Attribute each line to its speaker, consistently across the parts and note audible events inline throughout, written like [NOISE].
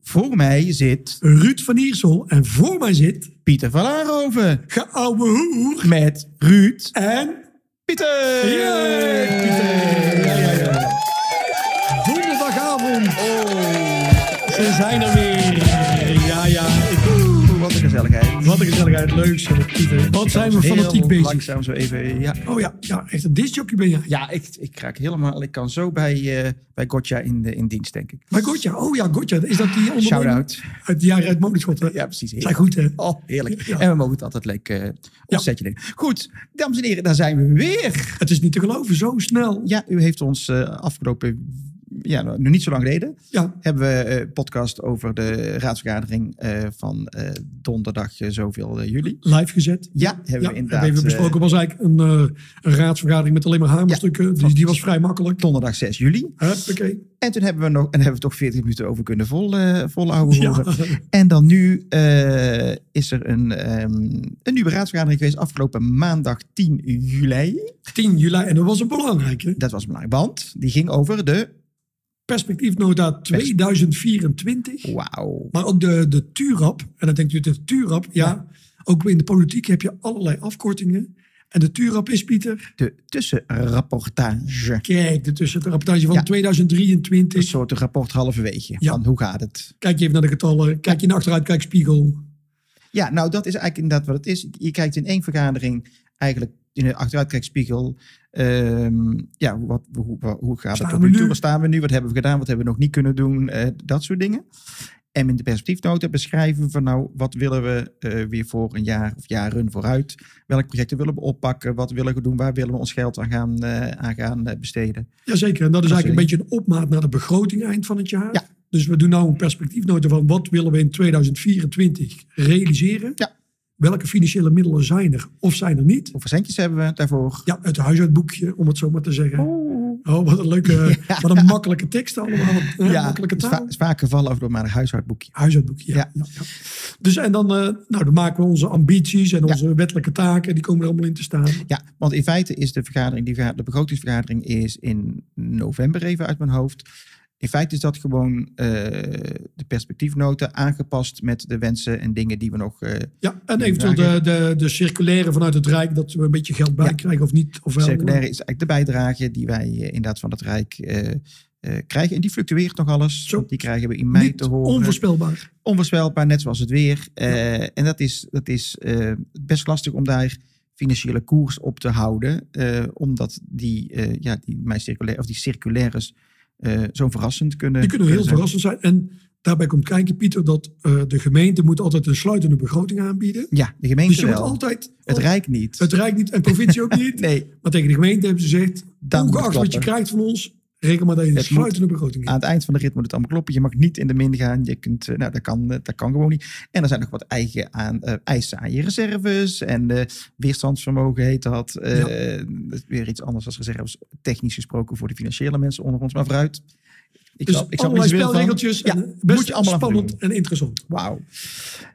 Speaker 1: Voor mij zit
Speaker 2: Ruud van Iersel. En voor mij zit
Speaker 1: Pieter van Laarhoven
Speaker 2: geouwe hoer.
Speaker 1: met Ruud
Speaker 2: En
Speaker 1: Pieter.
Speaker 2: Yay, Pieter. Ja, ja, ja. donderdagavond. Ze zijn er weer. Ja, ja.
Speaker 1: Oeh, wat een gezelligheid.
Speaker 2: Wat een gezelligheid. Leuk zo, Pieter. Wat zijn we
Speaker 1: Heel
Speaker 2: fanatiek bezig.
Speaker 1: Langzaam zo even, ja.
Speaker 2: Oh ja, ja echt een discjockey ben je.
Speaker 1: Ja, ik, ik raak helemaal, ik kan zo bij, eh bij Gotcha in, de, in dienst, denk ik.
Speaker 2: Maar Gotja, oh ja, Gotja. Is dat die onderneming
Speaker 1: Shout-out.
Speaker 2: Uit de jaren uit Molenschot,
Speaker 1: Ja, precies.
Speaker 2: Zijn goed, hè?
Speaker 1: Oh, heerlijk.
Speaker 2: Ja.
Speaker 1: En we mogen het altijd leuk eh opzetje doen. Goed, dames en heren, daar zijn we weer.
Speaker 2: Het is niet te geloven, zo snel.
Speaker 1: Ja, u heeft ons eh, afgelopen, ja, nou, nu niet zo lang geleden,
Speaker 2: Ja,
Speaker 1: hebben we eh, een podcast over de raadsvergadering eh, van eh, donderdag eh, zoveel eh, juli.
Speaker 2: live gezet.
Speaker 1: Ja, hebben
Speaker 2: Ja,
Speaker 1: we
Speaker 2: en
Speaker 1: inderdaad.
Speaker 2: hebben we
Speaker 1: eh,
Speaker 2: besproken. was eigenlijk een, eh, een raadsvergadering met alleen maar hamerstukken. dus die was vrij makkelijk.
Speaker 1: donderdag 6 juli.
Speaker 2: Huppakee.
Speaker 1: En toen hebben we, nog, en hebben we toch 40 minuten over kunnen vol, eh, volhouden.
Speaker 2: Ja.
Speaker 1: horen.
Speaker 2: [LAUGHS]
Speaker 1: En dan nu eh, is er een, ehm, een nieuwe raadsvergadering geweest afgelopen maandag 10 juli.
Speaker 2: 10 juli. En dat was een belangrijke.
Speaker 1: Dat was belangrijk, want die ging over de...
Speaker 2: Perspectiefnota 2024.
Speaker 1: Wauw.
Speaker 2: Maar ook de, de TURAP. En dan denkt u, de TURAP, ja, Ook in de politiek heb je allerlei afkortingen. En de TURAP is, Pieter,
Speaker 1: De tussenrapportage.
Speaker 2: kijk, de tussenrapportage van
Speaker 1: Ja. Een
Speaker 2: 2023.
Speaker 1: soort rapport halverwege.
Speaker 2: Ja.
Speaker 1: Van hoe gaat het?
Speaker 2: Kijk je even naar de getallen. Kijk je in de achteruitkijkspiegel.
Speaker 1: Ja, nou dat is eigenlijk inderdaad wat het is. Je kijkt in één vergadering eigenlijk in de achteruitkijkspiegel. ehm, ja, wat, hoe, wa- hoe gaat
Speaker 2: Staan
Speaker 1: het
Speaker 2: we
Speaker 1: tot nu
Speaker 2: nu?
Speaker 1: toe? Waar staan we nu? Wat hebben we gedaan? Wat hebben we nog niet kunnen doen? Eh, dat soort dingen. En in de perspectiefnota beschrijven we van nou, wat willen we eh, weer voor een jaar of jaren vooruit? Welke projecten willen we oppakken? Wat willen we doen? Waar willen we ons geld aan gaan, eh, aan gaan eh, besteden?
Speaker 2: Jazeker, en dat is
Speaker 1: Dat
Speaker 2: eigenlijk een
Speaker 1: is
Speaker 2: beetje een opmaat naar de begroting eind van het jaar.
Speaker 1: Ja.
Speaker 2: Dus we doen nou een perspectiefnota van wat willen we in 2024 realiseren.
Speaker 1: Ja.
Speaker 2: Welke financiële middelen zijn er of zijn er niet?
Speaker 1: Hoeveel centjes hebben we daarvoor?
Speaker 2: Ja, het huishoudboekje, om het zo maar te zeggen. Oh,
Speaker 1: Oeh.
Speaker 2: wat een
Speaker 1: [LAUGHS]
Speaker 2: leuke, eh, wat een makkelijke tekst allemaal. Wat, hè, makkelijke
Speaker 1: het is,
Speaker 2: taal.
Speaker 1: va- is vaak gevallen over door maar een huishoudboekje.
Speaker 2: Huishoudboekje, ja.
Speaker 1: Ja.
Speaker 2: ja, ja. Dus en dan, eh, nou, dan maken we onze ambities en
Speaker 1: Ja.
Speaker 2: onze wettelijke taken. Die komen er allemaal in te staan.
Speaker 1: Ja, want in feite is de vergadering, die verga- de begrotingsvergadering is in november even uit mijn hoofd. In feite is dat gewoon eh, de perspectiefnota aangepast met de wensen en dingen die we nog. eh,
Speaker 2: Ja, en eventueel de, de, de circulaire vanuit het Rijk. Dat we een beetje geld bij
Speaker 1: Ja.
Speaker 2: krijgen of niet. Of wel.
Speaker 1: circulaire is eigenlijk de bijdrage die wij eh, inderdaad van het Rijk eh, eh, krijgen. En die fluctueert nog alles.
Speaker 2: Zo.
Speaker 1: want Die krijgen we in mei
Speaker 2: niet
Speaker 1: te horen.
Speaker 2: onvoorspelbaar.
Speaker 1: onvoorspelbaar, net zoals het weer. Eh, En dat is, dat is eh, best lastig om daar financiële koers op te houden. eh, omdat die, eh, ja, die, mijn circulaire, of die circulaires eh, zo verrassend kunnen
Speaker 2: Die kunnen heel
Speaker 1: zijn.
Speaker 2: verrassend zijn. En daarbij komt kijken, Pieter, dat eh, de gemeente moet altijd een sluitende begroting aanbieden.
Speaker 1: Ja, de
Speaker 2: Dus
Speaker 1: gemeente
Speaker 2: je moet
Speaker 1: wel.
Speaker 2: altijd...
Speaker 1: Het Rijk niet.
Speaker 2: het Rijk niet en provincie ook
Speaker 1: [LAUGHS]
Speaker 2: niet.
Speaker 1: nee,
Speaker 2: Maar tegen de gemeente hebben ze gezegd,
Speaker 1: Daar moet het
Speaker 2: ongeacht wat je
Speaker 1: kloppen.
Speaker 2: krijgt van ons, reken maar dat je een
Speaker 1: Het moet
Speaker 2: sluitende begroting
Speaker 1: aan
Speaker 2: hebt.
Speaker 1: het eind van de rit moet het allemaal kloppen. Je mag niet in de min gaan. Je kunt, eh, nou, dat, kan, eh, dat kan gewoon niet. En er zijn nog wat eigen aan, eh, eisen aan je reserves. En eh, weerstandsvermogen heet dat. Eh, dat is weer iets anders als reserves. Technisch gesproken voor de financiële mensen onder ons. Maar vooruit. Ik
Speaker 2: Dus
Speaker 1: snap, ik snap er
Speaker 2: allerlei
Speaker 1: niet zoveel van.
Speaker 2: spelregeltjes.
Speaker 1: Ja,
Speaker 2: en eh, best
Speaker 1: moet je allemaal aan
Speaker 2: spannend
Speaker 1: voldoen.
Speaker 2: en interessant.
Speaker 1: Wauw.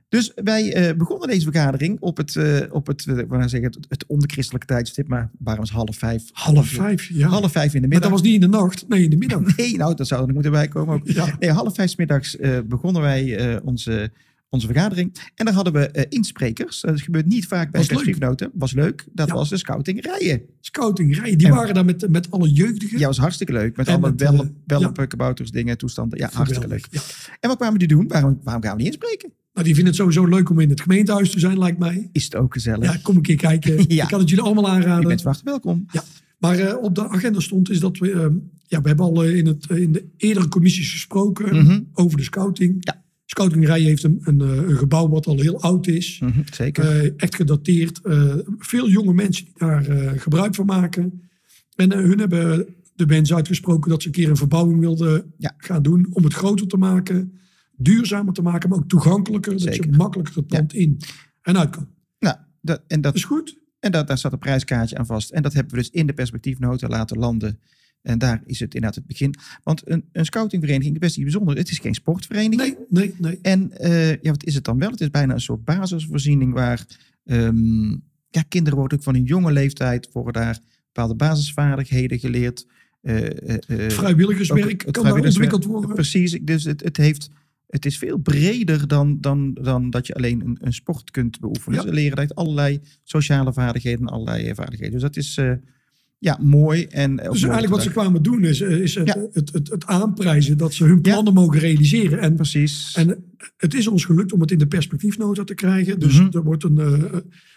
Speaker 1: Dus wij eh, begonnen deze vergadering op het, eh, op het, eh, ik wou nou zeggen, het, het onchristelijke tijdstip. Maar waarom is half vijf?
Speaker 2: Half vijf, ja.
Speaker 1: Half vijf in de
Speaker 2: maar
Speaker 1: middag.
Speaker 2: dat was niet in de nacht, nee, in de
Speaker 1: [LAUGHS]
Speaker 2: middag.
Speaker 1: Nee, nou, dat zou er nog moeten bij komen ook.
Speaker 2: Ja.
Speaker 1: Nee, half vijf 's middags eh, begonnen wij eh, onze, onze vergadering. En dan hadden we eh, insprekers. Dat gebeurt niet vaak bij
Speaker 2: Was leuk.
Speaker 1: perspectiefnoten. Was leuk. Dat
Speaker 2: Ja.
Speaker 1: was de scouting rijen.
Speaker 2: Scouting, rijden, die
Speaker 1: En-
Speaker 2: waren daar met, met alle jeugdigen.
Speaker 1: Ja, was hartstikke leuk. Met
Speaker 2: En
Speaker 1: alle
Speaker 2: met, eh,
Speaker 1: welp, welp,
Speaker 2: ja.
Speaker 1: kabouters, dingen, toestanden. Ja,
Speaker 2: Geweldig,
Speaker 1: hartstikke leuk.
Speaker 2: ja.
Speaker 1: En wat kwamen die doen? Waarom, waarom gaan we niet inspreken?
Speaker 2: Nou, die vinden het sowieso leuk om in het gemeentehuis te zijn, lijkt mij.
Speaker 1: Is het ook gezellig?
Speaker 2: Ja, kom een keer kijken.
Speaker 1: [LAUGHS] Ja.
Speaker 2: Ik kan het jullie allemaal aanraden.
Speaker 1: je bent van harte welkom.
Speaker 2: Maar eh, op de agenda stond is dat we, eh, ja, we hebben al eh, in, het, eh, in de eerdere commissies gesproken
Speaker 1: Mhm.
Speaker 2: over de scouting.
Speaker 1: Ja.
Speaker 2: Scouting Rij heeft een, een, eh, een gebouw wat al heel oud is.
Speaker 1: Mhm, zeker.
Speaker 2: eh, echt gedateerd. Eh, veel jonge mensen die daar eh, gebruik van maken. En eh, hun hebben de wens uitgesproken dat ze een keer een verbouwing wilden
Speaker 1: Ja.
Speaker 2: gaan doen. Om het groter te maken, duurzamer te maken, maar ook toegankelijker. Dat
Speaker 1: Zeker.
Speaker 2: je makkelijker het
Speaker 1: Ja.
Speaker 2: land in en uit kan.
Speaker 1: nou, dat, en dat
Speaker 2: Dat is goed.
Speaker 1: En dat, daar zat een prijskaartje aan vast. En dat hebben we dus in de perspectiefnota laten landen. En daar is het inderdaad het begin. Want een, een scoutingvereniging is best iets bijzonders. Het is geen sportvereniging.
Speaker 2: Nee, nee, nee.
Speaker 1: En eh, ja, wat is het dan wel? Het is bijna een soort basisvoorziening waar ehm, ja, kinderen worden ook van een jonge leeftijd worden daar bepaalde basisvaardigheden geleerd. Eh, eh, eh,
Speaker 2: Vrijwilligerswerk
Speaker 1: ook het
Speaker 2: kan daar
Speaker 1: vrijwilligerswerk-
Speaker 2: ontwikkeld worden.
Speaker 1: Precies, dus het, het heeft het is veel breder dan, dan, dan dat je alleen een, een sport kunt beoefenen.
Speaker 2: Ja.
Speaker 1: Ze leren echt allerlei sociale vaardigheden en allerlei eh, vaardigheden. Dus dat is eh, ja, mooi. En,
Speaker 2: Dus eigenlijk wat ze kwamen doen is, eh, is het,
Speaker 1: Ja.
Speaker 2: het, het, het aanprijzen dat ze hun plannen mogen realiseren. En,
Speaker 1: Precies.
Speaker 2: en het is ons gelukt om het in de perspectiefnota te krijgen. Dus
Speaker 1: Mhm.
Speaker 2: er wordt een, eh,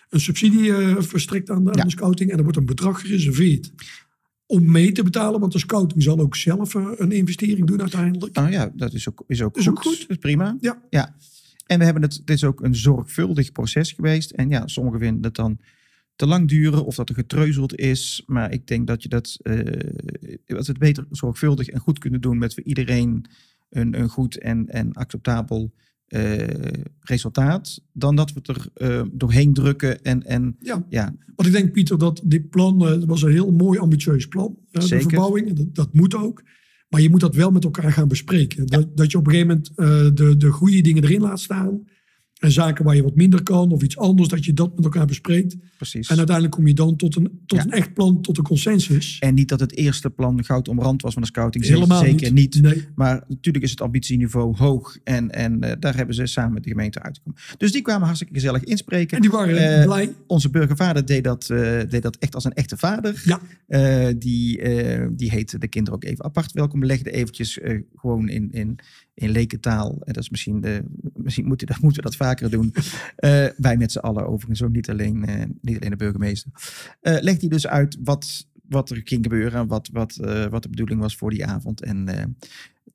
Speaker 2: een subsidie eh, verstrekt aan de, aan
Speaker 1: Ja.
Speaker 2: de scouting en er wordt een bedrag gereserveerd om mee te betalen. Want de scouting zal ook zelf eh, een investering doen uiteindelijk.
Speaker 1: Nou ja, dat is ook, is ook
Speaker 2: Is
Speaker 1: goed.
Speaker 2: ook goed.
Speaker 1: Dat is prima.
Speaker 2: Ja.
Speaker 1: ja. En we hebben het, het is ook een zorgvuldig proces geweest. En ja, sommigen vinden het dan te lang duren of dat er getreuzeld is. Maar ik denk dat je dat, eh dat we het beter zorgvuldig en goed kunnen doen met voor iedereen een, een goed en, en acceptabel eh, resultaat. Dan dat we het er eh, doorheen drukken en, en
Speaker 2: Ja.
Speaker 1: ja,
Speaker 2: Want ik denk, Pieter, dat dit plan eh, was een heel mooi ambitieus plan. eh, de
Speaker 1: Zeker.
Speaker 2: verbouwing, en dat, dat moet ook. Maar je moet dat wel met elkaar gaan bespreken. Dat, dat je op een gegeven moment eh, de, de goede dingen erin laat staan. En zaken waar je wat minder kan of iets anders, dat je dat met elkaar bespreekt.
Speaker 1: precies.
Speaker 2: En uiteindelijk kom je dan tot een, tot
Speaker 1: Ja.
Speaker 2: een echt plan, tot een consensus.
Speaker 1: En niet dat het eerste plan goud omrand was van de scouting.
Speaker 2: Helemaal
Speaker 1: zeker niet.
Speaker 2: Nee.
Speaker 1: Maar natuurlijk is het ambitieniveau hoog. En, en eh, daar hebben ze samen met de gemeente uitgekomen. Dus die kwamen hartstikke gezellig inspreken.
Speaker 2: En die waren
Speaker 1: Eh,
Speaker 2: blij.
Speaker 1: Onze burgervader deed dat, eh, deed dat echt als een echte vader.
Speaker 2: Ja.
Speaker 1: Eh, die, eh, die heette de kinderen ook even apart welkom. Legde eventjes eh, gewoon in, in, in lekentaal. En dat is misschien, de, misschien moeten, dat, [LAUGHS] moeten we dat vaker
Speaker 2: [LAUGHS]
Speaker 1: doen. Eh, wij met z'n allen overigens ook, niet alleen, eh, niet alleen de burgemeester. Eh legde hij dus uit wat, wat er ging gebeuren. en Wat, wat, eh, wat de bedoeling was voor die avond. En eh,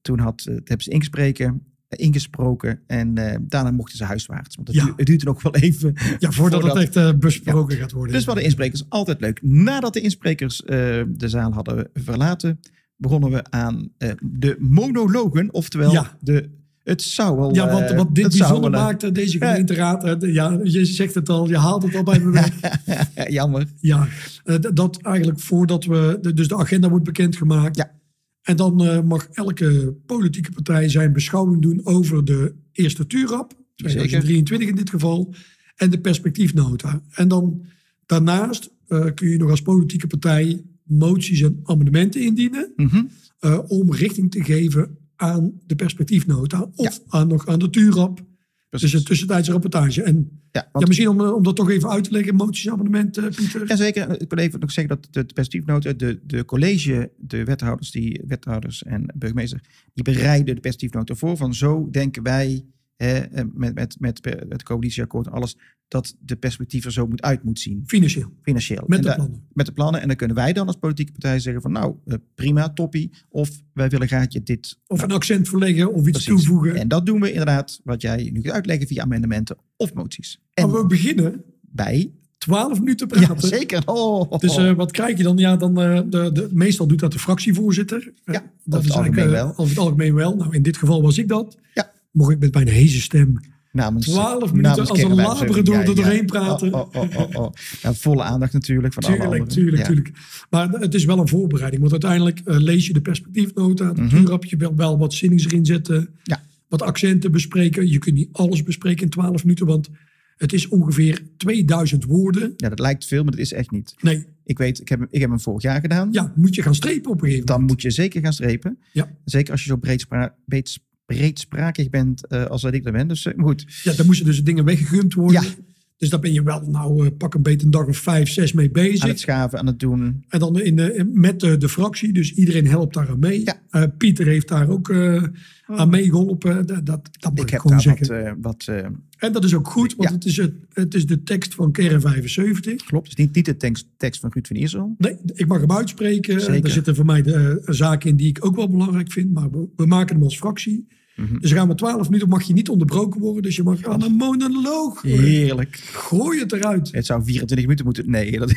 Speaker 1: toen had, eh, hebben ze ingespreken, eh, ingesproken. En eh, daarna mochten ze huiswaarts. Want het,
Speaker 2: Ja.
Speaker 1: du- het duurde nog wel even
Speaker 2: Ja, voordat,
Speaker 1: voordat-
Speaker 2: het echt eh, besproken gaat worden.
Speaker 1: dus we hadden insprekers altijd leuk. Nadat de insprekers eh, de zaal hadden verlaten, begonnen we aan eh, de monologen, oftewel
Speaker 2: Ja.
Speaker 1: de, het zou wel.
Speaker 2: Ja, want
Speaker 1: eh,
Speaker 2: wat dit
Speaker 1: het zou
Speaker 2: bijzonder
Speaker 1: wel, eh,
Speaker 2: maakt, eh, deze gemeenteraad. eh, de- Ja, je zegt het al, je haalt het al
Speaker 1: [LAUGHS]
Speaker 2: bij me weg.
Speaker 1: eh, Jammer.
Speaker 2: Ja, eh, d- dat eigenlijk voordat we. de- Dus de agenda wordt bekendgemaakt.
Speaker 1: Ja.
Speaker 2: En dan eh, mag elke politieke partij zijn beschouwing doen over de eerste TURAP, 2023 in dit geval, en de perspectiefnota. En dan daarnaast eh, kun je nog als politieke partij moties en amendementen indienen
Speaker 1: Mhm.
Speaker 2: eh, om richting te geven aan de perspectiefnota of aan, nog aan de TURAP.
Speaker 1: Precies.
Speaker 2: Dus een tussentijdse rapportage. En
Speaker 1: Ja,
Speaker 2: ja,
Speaker 1: want,
Speaker 2: misschien om, eh, om dat toch even uit te leggen, moties en amendementen, eh, Pieter.
Speaker 1: ja, zeker. Ik wil even nog zeggen dat de, de perspectiefnota, de, de college, de wethouders, die, wethouders en burgemeester, die bereiden de perspectiefnota voor van zo denken wij hè, eh, met, met, met eh, het coalitieakkoord en alles, dat de perspectief er zo moet uit moet zien,
Speaker 2: Financieel,
Speaker 1: financieel.
Speaker 2: met
Speaker 1: En
Speaker 2: de
Speaker 1: da-
Speaker 2: plannen.
Speaker 1: met de plannen. En dan kunnen wij dan als politieke partij zeggen van nou, eh, prima, toppie. Of wij willen gaatje dit.
Speaker 2: Of een accent verleggen of iets
Speaker 1: Precies.
Speaker 2: toevoegen.
Speaker 1: En dat doen we inderdaad, wat jij nu gaat uitleggen via amendementen of moties. En
Speaker 2: Maar we beginnen
Speaker 1: bij.
Speaker 2: 12 minuten
Speaker 1: Ja,
Speaker 2: praten.
Speaker 1: zeker. Oh,
Speaker 2: Dus eh, wat krijg je dan? Ja, dan eh, de, de, meestal doet dat de fractievoorzitter.
Speaker 1: Ja,
Speaker 2: Eh, dat
Speaker 1: over
Speaker 2: is
Speaker 1: het
Speaker 2: eigenlijk
Speaker 1: algemeen
Speaker 2: eh,
Speaker 1: wel.
Speaker 2: over het algemeen wel. Nou, in dit geval was ik dat.
Speaker 1: Ja.
Speaker 2: Mocht ik met mijn heze stem.
Speaker 1: namens,
Speaker 2: 12 minuten
Speaker 1: namens
Speaker 2: als een
Speaker 1: Kernwijn
Speaker 2: labere
Speaker 1: zeggen,
Speaker 2: door-
Speaker 1: ja,
Speaker 2: door
Speaker 1: ja.
Speaker 2: doorheen praten.
Speaker 1: Oh, oh, oh, oh, oh. Ja, volle aandacht natuurlijk van alle
Speaker 2: Tuurlijk,
Speaker 1: anderen.
Speaker 2: tuurlijk,
Speaker 1: Ja.
Speaker 2: tuurlijk. Maar het is wel een voorbereiding. Want uiteindelijk eh, lees je de perspectiefnota. De
Speaker 1: Mhm.
Speaker 2: tuurrap, je wil wel wat zinnings erin zetten.
Speaker 1: Ja.
Speaker 2: Wat accenten bespreken. Je kunt niet alles bespreken in 12 minuten. Want het is ongeveer 2000 woorden.
Speaker 1: Ja, dat lijkt veel, maar dat is echt niet.
Speaker 2: Nee,
Speaker 1: Ik weet, ik heb, hem- ik heb hem vorig jaar gedaan.
Speaker 2: ja, moet je gaan strepen op een gegeven
Speaker 1: Dan moet je zeker gaan strepen.
Speaker 2: Ja.
Speaker 1: Zeker als je zo breedspra breeds- breedsprakig bent eh, als dat ik er ben. Dus eh, maar goed,
Speaker 2: Ja, dan moesten dus dingen weggegumd worden.
Speaker 1: Ja.
Speaker 2: Dus daar ben je wel, nou, eh, pak een beetje een dag of vijf, zes mee
Speaker 1: aan
Speaker 2: bezig.
Speaker 1: het schaven, aan het doen.
Speaker 2: En dan in de, in- met de, de fractie, dus iedereen helpt daar aan mee.
Speaker 1: Ja. Oh.
Speaker 2: Eh, Pieter heeft daar ook eh, aan meegeholpen. Eh, Dat, dat, dat moet ik,
Speaker 1: Ik heb
Speaker 2: gewoon
Speaker 1: daar
Speaker 2: zeggen.
Speaker 1: wat, eh, wat eh,
Speaker 2: En dat is ook goed, want
Speaker 1: Ja.
Speaker 2: het, is het, het is de tekst van Kern 75.
Speaker 1: klopt. Het is niet, niet de tekst, tekst van Ruud van Iersel.
Speaker 2: Nee, ik mag hem uitspreken.
Speaker 1: Zeker.
Speaker 2: Er zitten voor mij de, eh, zaken in die ik ook wel belangrijk vind. Maar we, we maken hem als fractie.
Speaker 1: Mhm.
Speaker 2: Dus gaan we 12 minuten, mag je niet onderbroken worden. Dus je mag aan een monoloog.
Speaker 1: Heerlijk.
Speaker 2: Gooi het eruit.
Speaker 1: Het zou 24 minuten moeten. Nee, dat, [LAUGHS]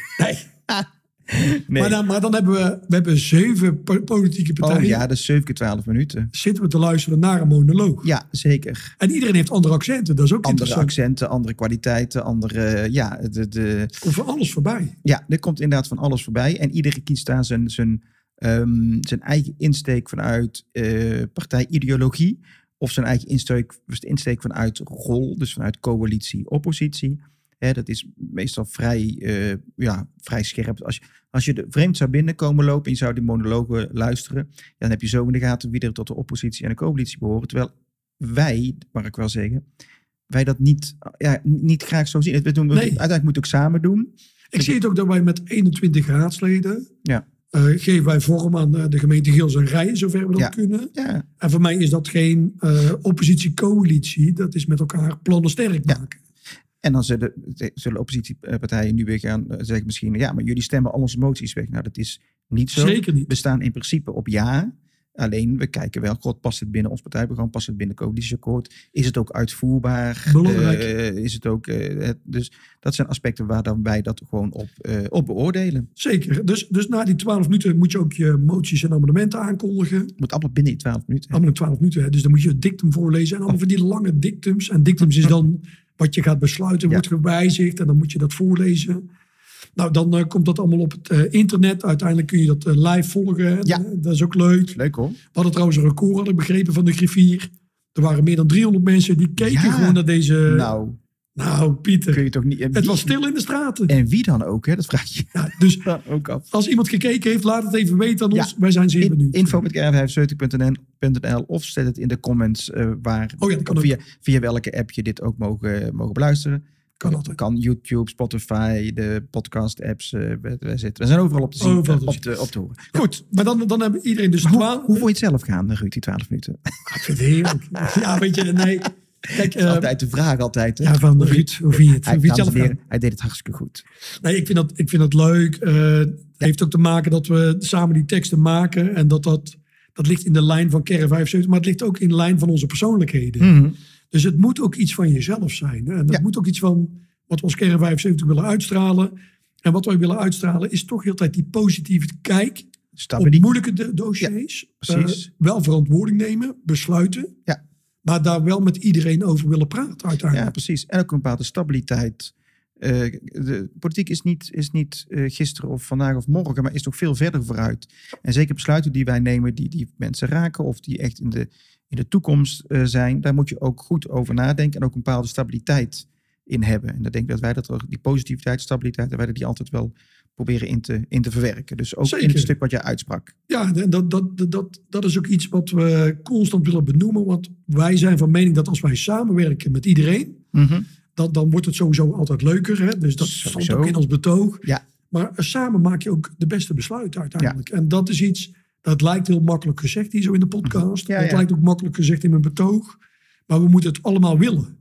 Speaker 1: nee.
Speaker 2: Maar, dan, maar dan hebben we, we hebben zeven po- politieke partijen.
Speaker 1: oh ja, dat is 7 keer 12 minuten.
Speaker 2: Zitten we te luisteren naar een monoloog.
Speaker 1: Ja, zeker.
Speaker 2: En iedereen heeft andere accenten. Dat is ook
Speaker 1: Andere
Speaker 2: interessant.
Speaker 1: accenten, andere kwaliteiten, andere... Ja, de, de,
Speaker 2: Komt van alles voorbij.
Speaker 1: ja, er komt inderdaad van alles voorbij. En iedereen kiest daar zijn, zijn, ehm, zijn eigen insteek vanuit eh, partijideologie. Of zijn eigen insteek, insteek vanuit rol, dus vanuit coalitie, oppositie. Hè, dat is meestal vrij, eh, ja, vrij scherp. Als je, als je de vreemd zou binnenkomen lopen en je zou die monologen luisteren, dan heb je zo in de gaten wie er tot de oppositie en de coalitie behoren. Terwijl wij, mag ik wel zeggen, wij dat niet, ja, niet graag zo zien. We doen, we,
Speaker 2: Nee.
Speaker 1: Uiteindelijk moet het ook samen doen.
Speaker 2: Ik zie het ook dat wij met 21 raadsleden
Speaker 1: Ja.
Speaker 2: eh, geven wij vorm aan eh, de gemeente Geels en Rijen, zover we dat
Speaker 1: Ja.
Speaker 2: kunnen.
Speaker 1: Ja,
Speaker 2: En voor mij is dat geen eh, oppositie-coalitie. Dat is met elkaar plannen sterk
Speaker 1: Ja.
Speaker 2: maken.
Speaker 1: En dan zullen, zullen oppositiepartijen nu weer gaan eh, zeggen misschien... ja, maar jullie stemmen al onze moties weg. Nou, dat is niet zo.
Speaker 2: Zeker niet.
Speaker 1: We staan in principe op ja. Alleen, we kijken wel, god, past het binnen ons partijprogramma? Past het binnen het coalitieakkoord? Is het ook uitvoerbaar?
Speaker 2: Belangrijk.
Speaker 1: Eh, is het ook... eh, het- dus dat zijn aspecten waar dan wij dat gewoon op, eh, op beoordelen.
Speaker 2: Zeker. Dus, dus na die 12 minuten moet je ook je moties en amendementen aankondigen.
Speaker 1: Het moet allemaal binnen die 12 minuten.
Speaker 2: Allemaal in 12 minuten. Hè? Dus dan moet je het dictum voorlezen. En allemaal van die lange dictums. En dictums is dan wat je gaat besluiten,
Speaker 1: Ja.
Speaker 2: wordt gewijzigd. En dan moet je dat voorlezen. Nou, dan eh, komt dat allemaal op het eh, internet. Uiteindelijk kun je dat eh, live volgen. hè. Eh,
Speaker 1: Ja.
Speaker 2: Dat is ook leuk.
Speaker 1: Leuk hoor.
Speaker 2: We hadden trouwens een record, had ik begrepen, van de griffier. Er waren meer dan 300 mensen die keken
Speaker 1: Ja.
Speaker 2: gewoon naar deze... Nou,
Speaker 1: nou, kun
Speaker 2: Pieter,
Speaker 1: je toch niet... en
Speaker 2: het
Speaker 1: wie-
Speaker 2: was stil in de straten.
Speaker 1: En wie dan ook, hè? Dat vraag je
Speaker 2: Ja, dus
Speaker 1: dan [LAUGHS] ook af.
Speaker 2: als iemand gekeken heeft, laat het even weten aan
Speaker 1: Ja.
Speaker 2: ons. Wij zijn zeer
Speaker 1: In,
Speaker 2: benieuwd.
Speaker 1: info.kr75.nl of zet het in de comments eh, waar,
Speaker 2: Oh ja, dat kan ook.
Speaker 1: via, via welke app je dit ook mogen, mogen beluisteren.
Speaker 2: Kan altijd.
Speaker 1: Kan YouTube, Spotify, de podcast apps. eh, we, we zitten, we zijn overal op te zien,
Speaker 2: Overal
Speaker 1: eh,
Speaker 2: te
Speaker 1: op, te, op te horen.
Speaker 2: Goed, maar dan, dan hebben iedereen dus...
Speaker 1: Hoe,
Speaker 2: twa-
Speaker 1: hoe vond je het zelf gaan, eh, Ruud, die 12 minuten?
Speaker 2: Ah, Ik vind het heerlijk. Ja, weet je, nee. Kijk, eh,
Speaker 1: altijd de vraag, altijd. hè?
Speaker 2: ja, van Ruud, hoe vind je het?
Speaker 1: hij,
Speaker 2: Hoe vind je
Speaker 1: dames
Speaker 2: het
Speaker 1: en heren,
Speaker 2: zelf?
Speaker 1: hij deed het hartstikke goed.
Speaker 2: Nee, ik vind dat, ik vind dat leuk. Eh, Het heeft ook te maken dat we samen die teksten maken. En dat dat, dat ligt in de lijn van Kerre 75. Maar het ligt ook in de lijn van onze persoonlijkheden.
Speaker 1: Mhm.
Speaker 2: Dus het moet ook iets van jezelf zijn. hè. En dat
Speaker 1: Ja.
Speaker 2: moet ook iets van wat we als Kerre 75 willen uitstralen. En wat wij willen uitstralen is toch heel tijd die positieve kijk op
Speaker 1: Stabiliteit.
Speaker 2: moeilijke do- dossiers.
Speaker 1: precies.
Speaker 2: eh, wel verantwoording nemen, besluiten.
Speaker 1: Ja.
Speaker 2: Maar daar wel met iedereen over willen praten uiteindelijk.
Speaker 1: Ja, precies. En ook een bepaalde stabiliteit. Eh, de politiek is niet, is niet eh, gisteren of vandaag of morgen, maar is toch veel verder vooruit. En zeker besluiten die wij nemen, die, die mensen raken of die echt in de, in de toekomst eh, zijn, daar moet je ook goed over nadenken en ook een bepaalde stabiliteit in hebben. En dan denk ik dat wij dat er- die positiviteit, stabiliteit, dat wij er die altijd wel proberen in te, in te verwerken. Dus ook in
Speaker 2: Zeker.
Speaker 1: het stuk wat jij uitsprak.
Speaker 2: Ja, en dat, dat, dat- dat, dat is ook iets wat we constant willen benoemen. Want wij zijn van mening dat als wij samenwerken met iedereen, dat, dan wordt het sowieso altijd leuker. Hè? Dus dat stond
Speaker 1: Sowieso.
Speaker 2: ook in ons betoog.
Speaker 1: Ja.
Speaker 2: Maar eh, samen maak je ook de beste besluiten uiteindelijk. En dat is iets, dat lijkt heel makkelijk gezegd hier zo in de podcast.
Speaker 1: Ja,
Speaker 2: dat
Speaker 1: ja.
Speaker 2: lijkt ook makkelijk gezegd in mijn betoog. Maar we moeten het allemaal willen.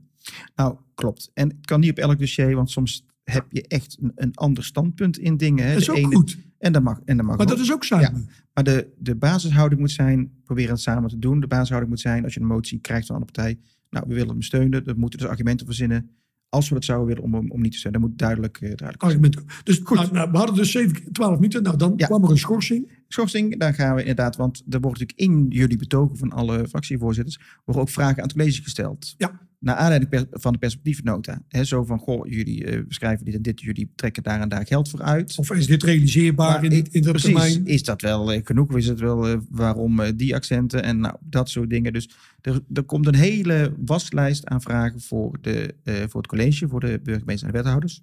Speaker 1: Nou, klopt. En het kan niet op elk dossier, want soms heb je echt een, een ander standpunt in dingen. Hè.
Speaker 2: Dat is
Speaker 1: De
Speaker 2: ook
Speaker 1: ene-
Speaker 2: goed.
Speaker 1: En dat mag. En dat mag
Speaker 2: Maar
Speaker 1: ook.
Speaker 2: dat is ook samen.
Speaker 1: Maar de, de basishouding moet zijn, probeer het samen te doen. De basishouding moet zijn, als je een motie krijgt van een andere partij, nou, we willen hem steunen. Dan moeten dus argumenten verzinnen. Als we dat zouden willen om hem om niet te steunen, dat moet duidelijk, eh, duidelijk.
Speaker 2: Argument. Dus goed. we hadden dus 7, 12 minuten. Nou, dan
Speaker 1: Ja.
Speaker 2: kwam er een schorsing.
Speaker 1: Schorsing, daar gaan we inderdaad, want er wordt natuurlijk in jullie betogen van alle fractievoorzitters, worden ook vragen aan het college gesteld.
Speaker 2: Ja.
Speaker 1: Naar aanleiding per- van de perspectiefnota. Hè, zo van, goh, jullie eh, beschrijven dit en dit, jullie trekken daar en daar geld voor uit.
Speaker 2: Of is dit realiseerbaar
Speaker 1: Maar
Speaker 2: in, dit- in dat
Speaker 1: Precies,
Speaker 2: termijn?
Speaker 1: is dat wel eh, genoeg? Is het wel eh, waarom eh, die accenten en nou, dat soort dingen? Dus er, er komt een hele waslijst aan vragen voor, de, eh, voor het college, voor de burgemeester en de wethouders.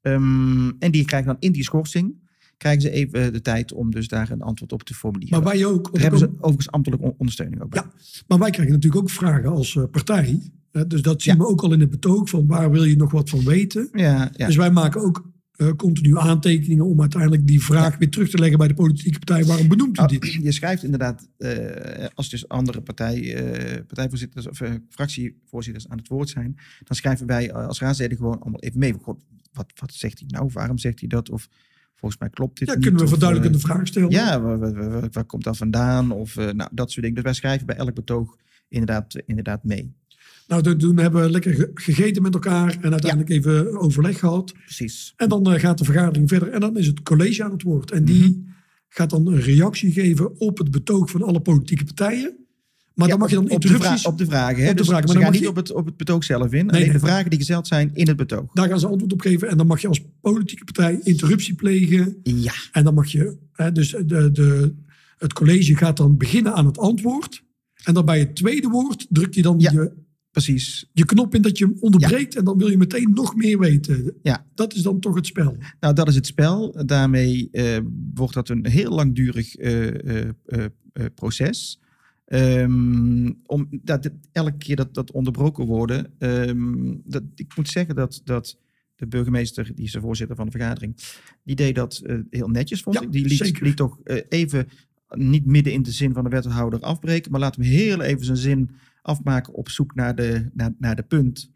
Speaker 1: Ehm, en die krijgen dan in die schorsing, krijgen ze even eh, de tijd om dus daar een antwoord op te formuleren.
Speaker 2: Maar wij ook.
Speaker 1: daar
Speaker 2: want
Speaker 1: hebben
Speaker 2: er
Speaker 1: ze overigens ambtelijke on- ondersteuning ook bij.
Speaker 2: Ja. Maar wij krijgen natuurlijk ook vragen als eh, partij. Hè, dus dat zien
Speaker 1: Ja.
Speaker 2: we ook al in het betoog van waar wil je nog wat van weten.
Speaker 1: Ja, ja.
Speaker 2: Dus wij maken ook eh, continu aantekeningen om uiteindelijk die vraag weer terug te leggen bij de politieke partij. Waarom benoemt u
Speaker 1: Nou,
Speaker 2: dit?
Speaker 1: je schrijft inderdaad, eh, als dus andere partij, eh, partijvoorzitters of eh, fractievoorzitters aan het woord zijn, dan schrijven wij eh, als raadsleden gewoon allemaal even mee. God, wat, wat zegt hij nou? Waarom zegt hij dat? Of volgens mij klopt dit
Speaker 2: Ja,
Speaker 1: niet,
Speaker 2: kunnen we
Speaker 1: of,
Speaker 2: verduidelijkende
Speaker 1: eh,
Speaker 2: vraag stellen?
Speaker 1: Ja, waar, waar- waar- waar- waar komt dat vandaan? Of eh, nou, dat soort dingen. Dus wij schrijven bij elk betoog inderdaad, eh, inderdaad mee.
Speaker 2: Nou, dat- toen hebben we lekker ge- gegeten met elkaar en uiteindelijk even overleg gehad.
Speaker 1: Precies.
Speaker 2: En dan eh, gaat de vergadering verder en dan is het college aan het woord. En die
Speaker 1: Mhm.
Speaker 2: gaat dan een reactie geven op het betoog van alle politieke partijen. Maar
Speaker 1: Ja,
Speaker 2: dan mag je dan
Speaker 1: op, op de,
Speaker 2: interrupties...
Speaker 1: vra- op de vragen. Hè?
Speaker 2: op de
Speaker 1: dus
Speaker 2: vragen,
Speaker 1: ze
Speaker 2: maar dan
Speaker 1: gaan
Speaker 2: mag
Speaker 1: niet
Speaker 2: je-
Speaker 1: op, het, op het betoog zelf in.
Speaker 2: nee.
Speaker 1: alleen de vragen die gezeld zijn in het betoog.
Speaker 2: Daar gaan ze antwoord op geven. En dan mag je als politieke partij interruptie plegen.
Speaker 1: Ja,
Speaker 2: En dan mag je, hè, dus de, de, het college gaat dan beginnen aan het antwoord. En dan bij het tweede woord druk je dan
Speaker 1: Ja.
Speaker 2: je,
Speaker 1: precies.
Speaker 2: je knop in dat je hem onderbreekt. En dan wil je meteen nog meer weten.
Speaker 1: Ja.
Speaker 2: Dat is dan toch het spel.
Speaker 1: Nou, dat is het spel. Daarmee eh, wordt dat een heel langdurig eh, eh, eh, eh, proces. Um, om, dat, dat, elke keer dat, dat onderbroken worden. Um, dat, ik moet zeggen dat, dat de burgemeester, die is de voorzitter van de vergadering, die deed dat uh, heel netjes, vond
Speaker 2: Ja,
Speaker 1: ik. Die liet,
Speaker 2: zeker.
Speaker 1: liet toch uh, even, niet midden in de zin van de wethouder afbreken, maar laat hem heel even zijn zin afmaken op zoek naar de, naar, naar de punt.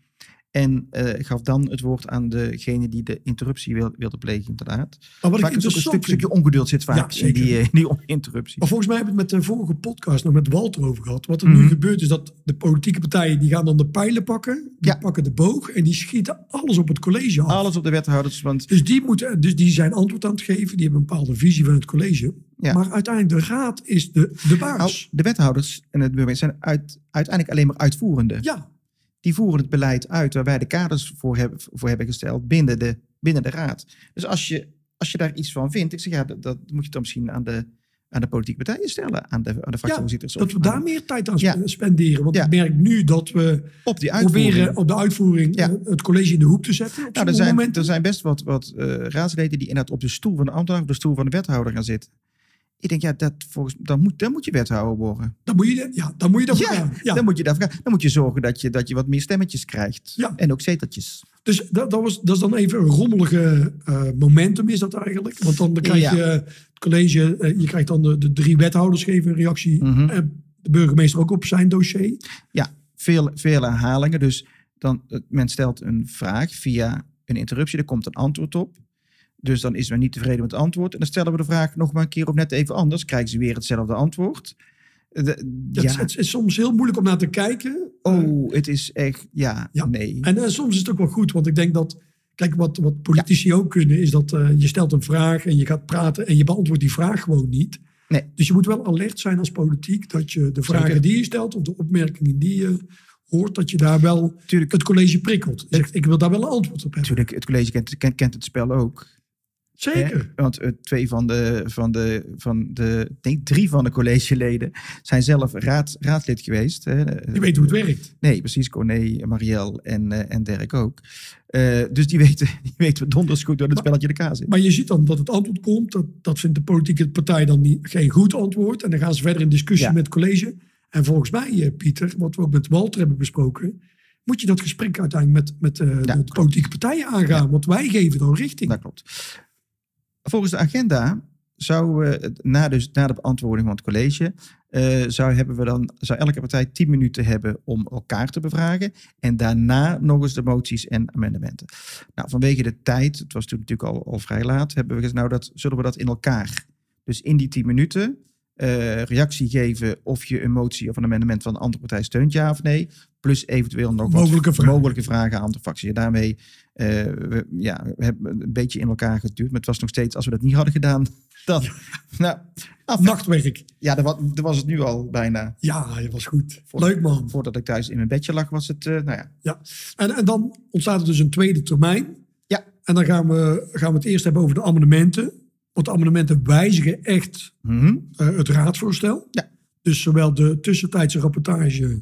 Speaker 1: En eh, gaf dan het woord aan degene die de interruptie wil, wilde plegen, inderdaad.
Speaker 2: Maar
Speaker 1: Vaak
Speaker 2: wat ik
Speaker 1: is ook een
Speaker 2: interessant
Speaker 1: stuk,
Speaker 2: vind-
Speaker 1: stukje ongeduld zit vaak
Speaker 2: Ja,
Speaker 1: in
Speaker 2: zeker.
Speaker 1: die, eh, die [LAUGHS] on- interruptie.
Speaker 2: Maar volgens mij hebben we het met de vorige podcast nog met Walter over gehad. Wat er
Speaker 1: Mhm.
Speaker 2: nu gebeurt is dat de politieke partijen die gaan dan de pijlen pakken. Die
Speaker 1: Ja.
Speaker 2: pakken de boog en die schieten alles op het college af.
Speaker 1: Alles op de wethouders, want
Speaker 2: Dus die, moeten, dus die zijn antwoord aan het geven. Die hebben een bepaalde visie van het college.
Speaker 1: Ja.
Speaker 2: Maar uiteindelijk de raad is de, de
Speaker 1: nou,
Speaker 2: baas.
Speaker 1: de wethouders en het burgemeester zijn uit, uiteindelijk alleen maar uitvoerende.
Speaker 2: ja,
Speaker 1: Die voeren het beleid uit waar wij de kaders voor hebben, voor hebben gesteld binnen de, binnen de raad. Dus als je, als je daar iets van vindt, ik zeg ja, dat, dat moet je dan misschien aan de, aan de politieke partijen stellen, aan de, aan de fractievoorzitters.
Speaker 2: dat
Speaker 1: of
Speaker 2: we
Speaker 1: aan-
Speaker 2: daar meer tijd aan sp-
Speaker 1: Oh. Ja.
Speaker 2: spenderen. Want
Speaker 1: Ja.
Speaker 2: ik merk nu dat we
Speaker 1: op die uitvoering.
Speaker 2: proberen op de uitvoering
Speaker 1: Ja.
Speaker 2: eh, het college in de hoek te zetten. Op
Speaker 1: Nou, er
Speaker 2: sommige
Speaker 1: zijn,
Speaker 2: momenten.
Speaker 1: er zijn best wat, wat eh, raadsleden die inderdaad op de stoel van de ambtenaar, op de stoel van de wethouder gaan zitten. Ik denk, ja, dat volgens, dan, moet, dan moet je wethouder worden.
Speaker 2: Dan moet je, ja, dan moet je dat
Speaker 1: Ja,
Speaker 2: gaan. Ja.
Speaker 1: Dan moet je daarvoor gaan. Dan moet je zorgen dat je, dat je wat meer stemmetjes krijgt.
Speaker 2: Ja.
Speaker 1: En ook zeteltjes.
Speaker 2: Dus dat, dat, was, dat is dan even een rommelige eh, momentum is dat eigenlijk. Want dan krijg
Speaker 1: Ja.
Speaker 2: je eh, het college, eh, je krijgt dan de, de drie wethouders geven een reactie.
Speaker 1: Mhm.
Speaker 2: Eh, de burgemeester ook op zijn dossier.
Speaker 1: Ja, veel, veel herhalingen. Dus dan, eh, men stelt een vraag via een interruptie. Er komt een antwoord op. Dus dan is men niet tevreden met het antwoord. En dan stellen we de vraag nog maar een keer op net even anders. Krijgen ze weer hetzelfde antwoord? Eh, de-
Speaker 2: Het,
Speaker 1: ja.
Speaker 2: is- het is soms heel moeilijk om naar te kijken. Eh,
Speaker 1: oh, het is echt... Ja,
Speaker 2: Ja.
Speaker 1: nee.
Speaker 2: En eh, soms is het ook wel goed, want ik denk dat. Kijk, wat, wat politici ook kunnen, is dat eh, je stelt een vraag en je gaat praten en je beantwoordt die vraag gewoon niet.
Speaker 1: Nee.
Speaker 2: Dus je moet wel alert zijn als politiek dat je de vragen
Speaker 1: Zeker.
Speaker 2: die je stelt of de opmerkingen die je hoort, dat je daar wel
Speaker 1: Tuurlijk.
Speaker 2: het college prikkelt. Je Zegt, ik wil daar wel een antwoord op hebben.
Speaker 1: Natuurlijk, het college kent, kent, kent het spel ook. hè?
Speaker 2: Zeker.
Speaker 1: Want eh, twee van de, van de, van de ik denk drie van de collegeleden zijn zelf raad, raadlid geweest. Hè. Eh,
Speaker 2: Je weet hoe het werkt.
Speaker 1: Nee, precies. Corné, Marielle en, eh, en Dirk ook. Eh, dus die [LAUGHS] weten, die weten donders goed door het spelletje in elkaar zit.
Speaker 2: Maar je ziet dan dat het antwoord komt. Dat, dat vindt de politieke partij dan niet, geen goed antwoord. En dan gaan ze verder in discussie
Speaker 1: Ja.
Speaker 2: met het college. En volgens mij, eh, Pieter, wat we ook met Walter hebben besproken. Moet je dat gesprek uiteindelijk met, met eh,
Speaker 1: Ja,
Speaker 2: de politieke partijen aangaan. Want wij geven dan richting.
Speaker 1: Dat klopt. Volgens de agenda zou eh, het- na, dus, na de beantwoording van het college, eh, zou, hebben we dan, zou elke partij 10 minuten hebben om elkaar te bevragen. En daarna nog eens de moties en amendementen. Nou, vanwege de tijd, het was toen natuurlijk al, al vrij laat, hebben we gezegd, nou, dat, zullen we dat in elkaar. Dus in die 10 minuten eh, reactie geven of je een motie of een amendement van een andere partij steunt, ja of nee. Plus eventueel nog wat
Speaker 2: Mogelijke vragen.
Speaker 1: mogelijke vragen aan de fractie. En daarmee eh, we, ja, we hebben een beetje in elkaar geduwd. Maar het was nog steeds, als we dat niet hadden gedaan, [LAUGHS] dan... Nou, af,
Speaker 2: Nachtwerk.
Speaker 1: ja, dat was, dat was het nu al bijna.
Speaker 2: Ja, dat was goed.
Speaker 1: Voor-
Speaker 2: Leuk man.
Speaker 1: Voordat ik thuis in mijn bedje lag, was het... eh, nou ja,
Speaker 2: En, en dan ontstaat er dus een tweede termijn.
Speaker 1: Ja.
Speaker 2: En dan gaan we, gaan we het eerst hebben over de amendementen. Want de amendementen wijzigen echt
Speaker 1: mhm,
Speaker 2: eh, het raadsvoorstel.
Speaker 1: Ja.
Speaker 2: Dus zowel de tussentijdse rapportage,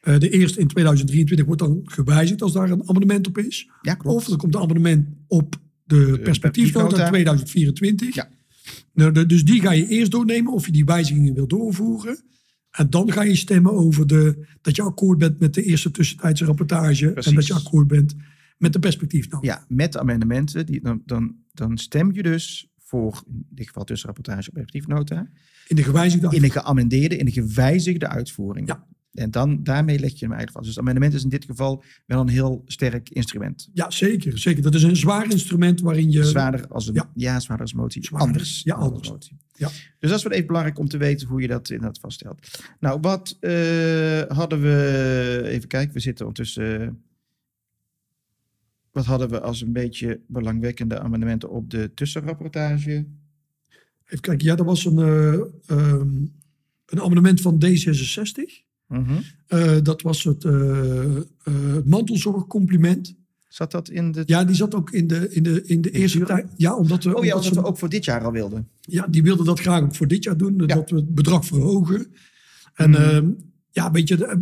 Speaker 2: eh, de eerste in 2023 wordt dan gewijzigd als daar een amendement op is.
Speaker 1: ja klopt.
Speaker 2: Of er komt een amendement op de perspectiefnota
Speaker 1: perspectiefnota.
Speaker 2: 2024.
Speaker 1: Ja.
Speaker 2: Nou, de- dus die ga je eerst doornemen of je die wijzigingen wil doorvoeren. En dan ga je stemmen over de, dat je akkoord bent met de eerste tussentijdse rapportage.
Speaker 1: Precies.
Speaker 2: En dat je akkoord bent met de perspectiefnota.
Speaker 1: Ja, met de amendementen. Die, dan, dan, dan stem je dus voor, in dit geval tussen rapportage op perspectiefnota,
Speaker 2: In de gewijzigde
Speaker 1: in de geamendeerde, in de gewijzigde uitvoering.
Speaker 2: Ja.
Speaker 1: En dan, daarmee leg je hem eigenlijk vast. Dus het amendement is in dit geval wel een heel sterk instrument.
Speaker 2: Ja, zeker, zeker. Dat is een zwaar instrument waarin je...
Speaker 1: Zwaarder als een, ja.
Speaker 2: ja.
Speaker 1: zwaarder als motie.
Speaker 2: Zwaarder,
Speaker 1: Anders.
Speaker 2: ja,
Speaker 1: dan als
Speaker 2: anders.
Speaker 1: motie.
Speaker 2: Ja.
Speaker 1: Dus dat is wel even belangrijk om te weten hoe je dat inderdaad vaststelt. Nou, wat eh, hadden we... Even kijken, we zitten ondertussen... eh, wat hadden we als een beetje belangwekkende amendementen op de tussenrapportage?
Speaker 2: Even kijken, ja, dat was een, eh, ehm, een amendement van D66.
Speaker 1: Mhm.
Speaker 2: Eh, dat was het eh, eh, het mantelzorgcompliment.
Speaker 1: Zat dat in de...
Speaker 2: Ja, die zat ook in de, in de, in de eerste
Speaker 1: Jura?
Speaker 2: tijd. Ja, omdat we,
Speaker 1: oh ja,
Speaker 2: omdat
Speaker 1: wat we
Speaker 2: ze-
Speaker 1: ook voor dit jaar al wilden.
Speaker 2: ja, die wilden dat graag ook voor dit jaar doen. eh,
Speaker 1: Ja.
Speaker 2: Dat we het bedrag verhogen. En
Speaker 1: Mhm.
Speaker 2: ehm, ja, weet je, de-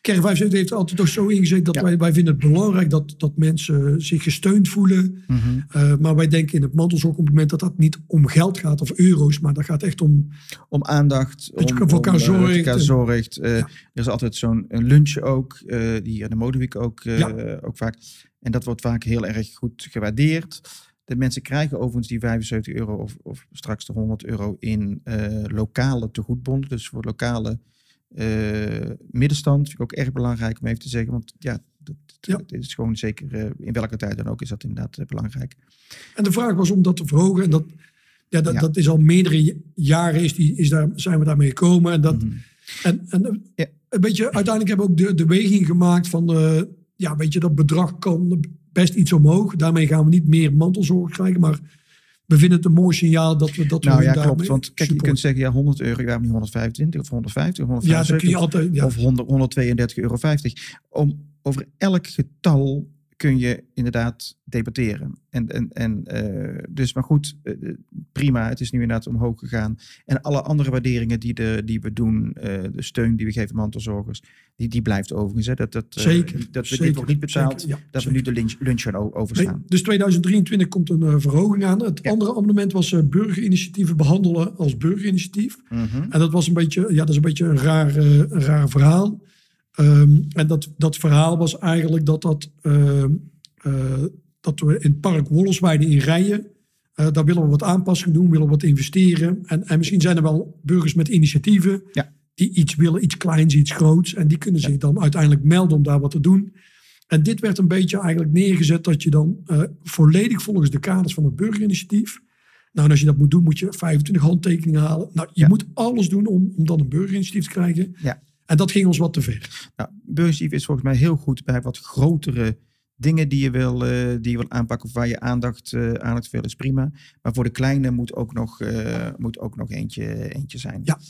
Speaker 2: Kern 75 heeft altijd toch zo ingezet dat
Speaker 1: Ja.
Speaker 2: wij, wij vinden het belangrijk dat, dat mensen zich gesteund voelen.
Speaker 1: Mhm.
Speaker 2: Eh, maar wij denken in het mantelzorgcompliment dat dat niet om geld gaat of euro's, maar dat gaat echt om
Speaker 1: Om aandacht.
Speaker 2: Dat je
Speaker 1: om,
Speaker 2: voor elkaar
Speaker 1: om, eh, dat je
Speaker 2: zorgt
Speaker 1: elkaar
Speaker 2: en-
Speaker 1: zorgt. Eh, Er is altijd zo'n een lunch ook, eh, die in de Modeweek ook, eh, ook vaak. En dat wordt vaak heel erg goed gewaardeerd. De mensen krijgen overigens die 75 euro of, of straks de 100 euro in eh, lokale tegoedbonnen. Dus voor lokale eh, middenstand vind ik ook erg belangrijk om even te zeggen. Want ja, dat,
Speaker 2: Ja.
Speaker 1: dat is gewoon zeker eh, in welke tijd dan ook is dat inderdaad eh, belangrijk.
Speaker 2: En de vraag was om dat te verhogen. En dat, ja, dat,
Speaker 1: Ja.
Speaker 2: dat is al meerdere j- jaren is die, is daar, zijn we daarmee gekomen. En, dat,
Speaker 1: Mhm.
Speaker 2: en, en
Speaker 1: Ja.
Speaker 2: een beetje, uiteindelijk hebben we ook de, de weging gemaakt van... eh, ja, weet je, dat bedrag kan best iets omhoog. Daarmee gaan we niet meer mantelzorg krijgen. Maar we vinden het een mooi signaal dat we dat
Speaker 1: Nou
Speaker 2: we
Speaker 1: ja,
Speaker 2: daarmee
Speaker 1: klopt. Want kijk, je
Speaker 2: supporten.
Speaker 1: kunt zeggen, ja, 100 euro, waarom niet 125 of 150 of
Speaker 2: Ja, dan kun
Speaker 1: 175
Speaker 2: je altijd... Ja,
Speaker 1: of 100, 132,50 euro. Om, over elk getal kun je inderdaad debatteren. En, en, en, eh, dus, maar goed, eh, prima, het is nu inderdaad omhoog gegaan. En alle andere waarderingen die, de, die we doen, eh, de steun die we geven aan mantelzorgers, die, die blijft overigens. Hè, dat, dat, eh,
Speaker 2: zeker.
Speaker 1: dat we
Speaker 2: zeker,
Speaker 1: dit nog niet betaald,
Speaker 2: zeker, ja,
Speaker 1: dat we
Speaker 2: zeker.
Speaker 1: nu de lunch, lunch gaan o-
Speaker 2: Nee,
Speaker 1: overslaan.
Speaker 2: dus 2023 komt een eh, verhoging aan. Het
Speaker 1: Ja.
Speaker 2: andere amendement was eh, burgerinitiatieven behandelen als burgerinitiatief.
Speaker 1: Mhm.
Speaker 2: En dat was een beetje, ja, dat is een beetje een raar, eh, een raar verhaal. Ehm, en dat, dat verhaal was eigenlijk dat, dat, ehm, eh, dat we in het park Wollersweide in Rijen, eh, daar willen we wat aanpassingen doen, willen we wat investeren. En, en misschien zijn er wel burgers met initiatieven
Speaker 1: Ja.
Speaker 2: die iets willen, iets kleins, iets groots. En die kunnen zich dan uiteindelijk melden om daar wat te doen. En dit werd een beetje eigenlijk neergezet dat je dan eh, volledig volgens de kaders van het burgerinitiatief. Nou, en als je dat moet doen, moet je 25 handtekeningen halen. Nou, je
Speaker 1: Ja.
Speaker 2: moet alles doen om, om dan een burgerinitiatief te krijgen.
Speaker 1: Ja.
Speaker 2: En dat ging ons wat te ver.
Speaker 1: Nou, Burgerstief is volgens mij heel goed bij wat grotere dingen die je wil, eh, die je wil aanpakken of waar je aandacht, eh aandacht voor wil, is prima. Maar voor de kleine moet ook nog, eh, moet ook nog eentje, eentje zijn.
Speaker 2: Ja.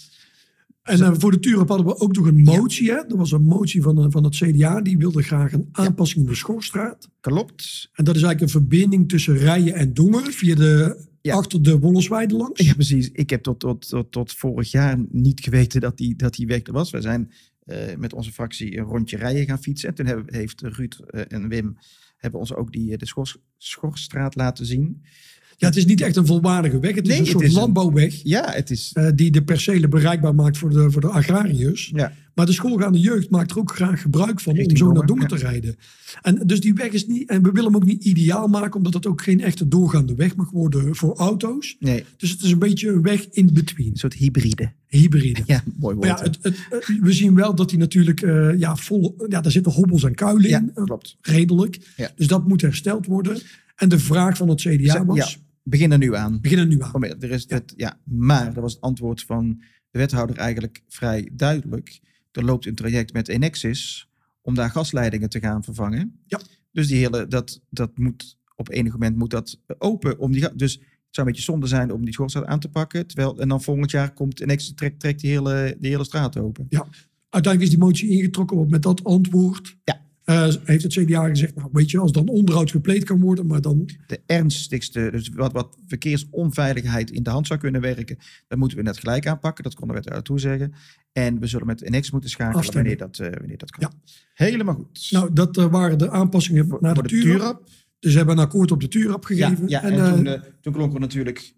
Speaker 2: En eh, voor de Turop hadden we ook nog een motie. Hè? Dat was een motie van, eh, van het CDA. Die wilde graag een aanpassing in de Schorstraat.
Speaker 1: Klopt.
Speaker 2: En dat is eigenlijk een verbinding tussen Rijen en Dongen. Via de,
Speaker 1: Ja.
Speaker 2: Achter de Wollensweide langs.
Speaker 1: Ja, precies. Ik heb tot, tot, tot, tot vorig jaar niet geweten dat die, dat die weg er was. We zijn eh, met onze fractie een rondje rijden gaan fietsen. En toen hebben, heeft Ruud eh, en Wim hebben ons ook die, eh, de schors, Schorsstraat laten zien.
Speaker 2: Ja, het is niet echt een volwaardige weg. Het is
Speaker 1: Nee,
Speaker 2: een
Speaker 1: het
Speaker 2: soort
Speaker 1: is een-
Speaker 2: landbouwweg.
Speaker 1: Ja, het is...
Speaker 2: eh, die de percelen bereikbaar maakt voor de, voor de agrariërs.
Speaker 1: Ja.
Speaker 2: Maar de schoolgaande jeugd maakt er ook graag gebruik van om
Speaker 1: Richting
Speaker 2: zo naar
Speaker 1: Dongen, ja.
Speaker 2: Dongen te rijden. En dus die weg is niet, en we willen hem ook niet ideaal maken, omdat het ook geen echte doorgaande weg mag worden voor auto's.
Speaker 1: Nee,
Speaker 2: Dus het is een beetje een weg in between,
Speaker 1: een soort hybride.
Speaker 2: hybride.
Speaker 1: Ja, mooi woord.
Speaker 2: Maar ja, het, het, het- we zien wel dat hij natuurlijk, eh, ja, vol, ja, daar zitten hobbels en kuilen
Speaker 1: Ja,
Speaker 2: in, eh,
Speaker 1: klopt.
Speaker 2: redelijk.
Speaker 1: Ja.
Speaker 2: Dus dat moet hersteld worden. En de vraag van het
Speaker 1: Ze-
Speaker 2: CDA was,
Speaker 1: ja. Begin er nu aan.
Speaker 2: beginnen nu aan.
Speaker 1: Oh, maar er is het, ja, maar dat was het antwoord van de wethouder eigenlijk vrij duidelijk. Er loopt een traject met Enexis om daar gasleidingen te gaan vervangen.
Speaker 2: Ja.
Speaker 1: Dus die hele, dat, dat moet op enig moment moet dat open. Om die, ga- dus het zou een beetje zonde zijn om die schoolstraat aan te pakken. Terwijl, en dan volgend jaar komt Enexis trekt, trekt die, hele, die hele straat open.
Speaker 2: Uiteindelijk is die motie ingetrokken, want met dat antwoord
Speaker 1: Ja.
Speaker 2: eh, heeft het CDA gezegd, nou weet je, als dan onderhoud gepleegd kan worden, maar dan
Speaker 1: de ernstigste, dus wat, wat verkeersonveiligheid in de hand zou kunnen werken, dat moeten we net gelijk aanpakken. Dat kon de wethouder toezeggen. En we zullen met NX moeten schakelen
Speaker 2: Afstemmen.
Speaker 1: wanneer dat, eh, wanneer dat kan. Helemaal goed.
Speaker 2: Nou, dat eh, waren de aanpassingen
Speaker 1: Voor-
Speaker 2: naar
Speaker 1: voor
Speaker 2: de,
Speaker 1: de
Speaker 2: Turap.
Speaker 1: Turap.
Speaker 2: Dus ze hebben een akkoord op de Turap
Speaker 1: ja,
Speaker 2: gegeven.
Speaker 1: ja, en,
Speaker 2: en, eh,
Speaker 1: toen, eh, toen klonk er natuurlijk...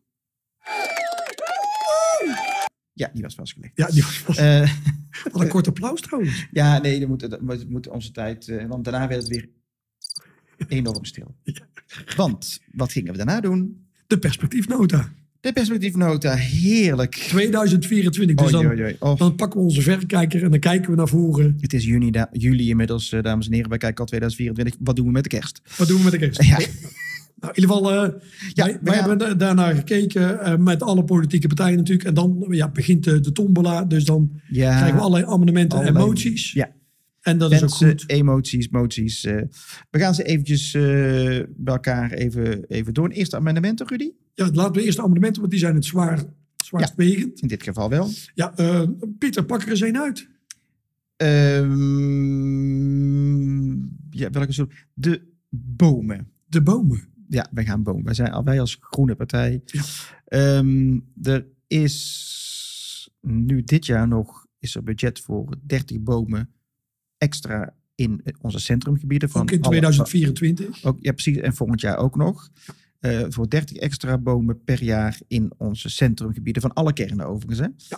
Speaker 1: Ja, die was vastgelegd.
Speaker 2: ja, die was
Speaker 1: Eh, [LAUGHS]
Speaker 2: wat een kort applaus trouwens.
Speaker 1: ja, nee, dan moet, dat moet, moet onze tijd... eh, want daarna werd het weer enorm stil. Want, wat gingen we daarna doen?
Speaker 2: De perspectiefnota.
Speaker 1: De perspectiefnota, heerlijk.
Speaker 2: 2024. Dus
Speaker 1: Oei,
Speaker 2: dan,
Speaker 1: oei, oei. Oh.
Speaker 2: dan pakken we onze verrekijker en dan kijken we naar voren.
Speaker 1: Het is juni, da- juli inmiddels, eh, dames en heren. Wij kijken al 2024. Wat doen we met de kerst? [LAUGHS]
Speaker 2: Wat doen we met de kerst?
Speaker 1: Ja.
Speaker 2: Nou, in ieder geval, eh,
Speaker 1: Ja,
Speaker 2: wij,
Speaker 1: we
Speaker 2: wij
Speaker 1: gaan-
Speaker 2: hebben da- daarnaar gekeken eh, met alle politieke partijen natuurlijk. En dan ja, begint de, de tombola. Dus dan
Speaker 1: Ja,
Speaker 2: krijgen we allerlei amendementen en
Speaker 1: Ah. Allerlei-
Speaker 2: moties.
Speaker 1: ja.
Speaker 2: En dat is ook
Speaker 1: mensen,
Speaker 2: goed.
Speaker 1: eh, emoties, moties. eh. we gaan ze eventjes eh, bij elkaar even, even door. Een eerste amendementen, Rudy?
Speaker 2: Ja, laten we eerst de amendementen, want die zijn het zwaar, zwaarstwegend.
Speaker 1: In dit geval wel.
Speaker 2: Ja, eh, Pieter, pak er eens een uit.
Speaker 1: Ehm, ja, welke soort? De bomen.
Speaker 2: De bomen.
Speaker 1: Ja, wij gaan bomen. Wij, zijn, al- wij als groene partij.
Speaker 2: Ja.
Speaker 1: Ehm, er is nu dit jaar nog is er budget voor 30 bomen extra in eh, onze centrumgebieden. Van
Speaker 2: Ook in
Speaker 1: alle-
Speaker 2: 2024.
Speaker 1: ook, ja, precies. En volgend jaar ook nog. Eh, voor 30 extra bomen per jaar in onze centrumgebieden. Van alle kernen overigens. Hè?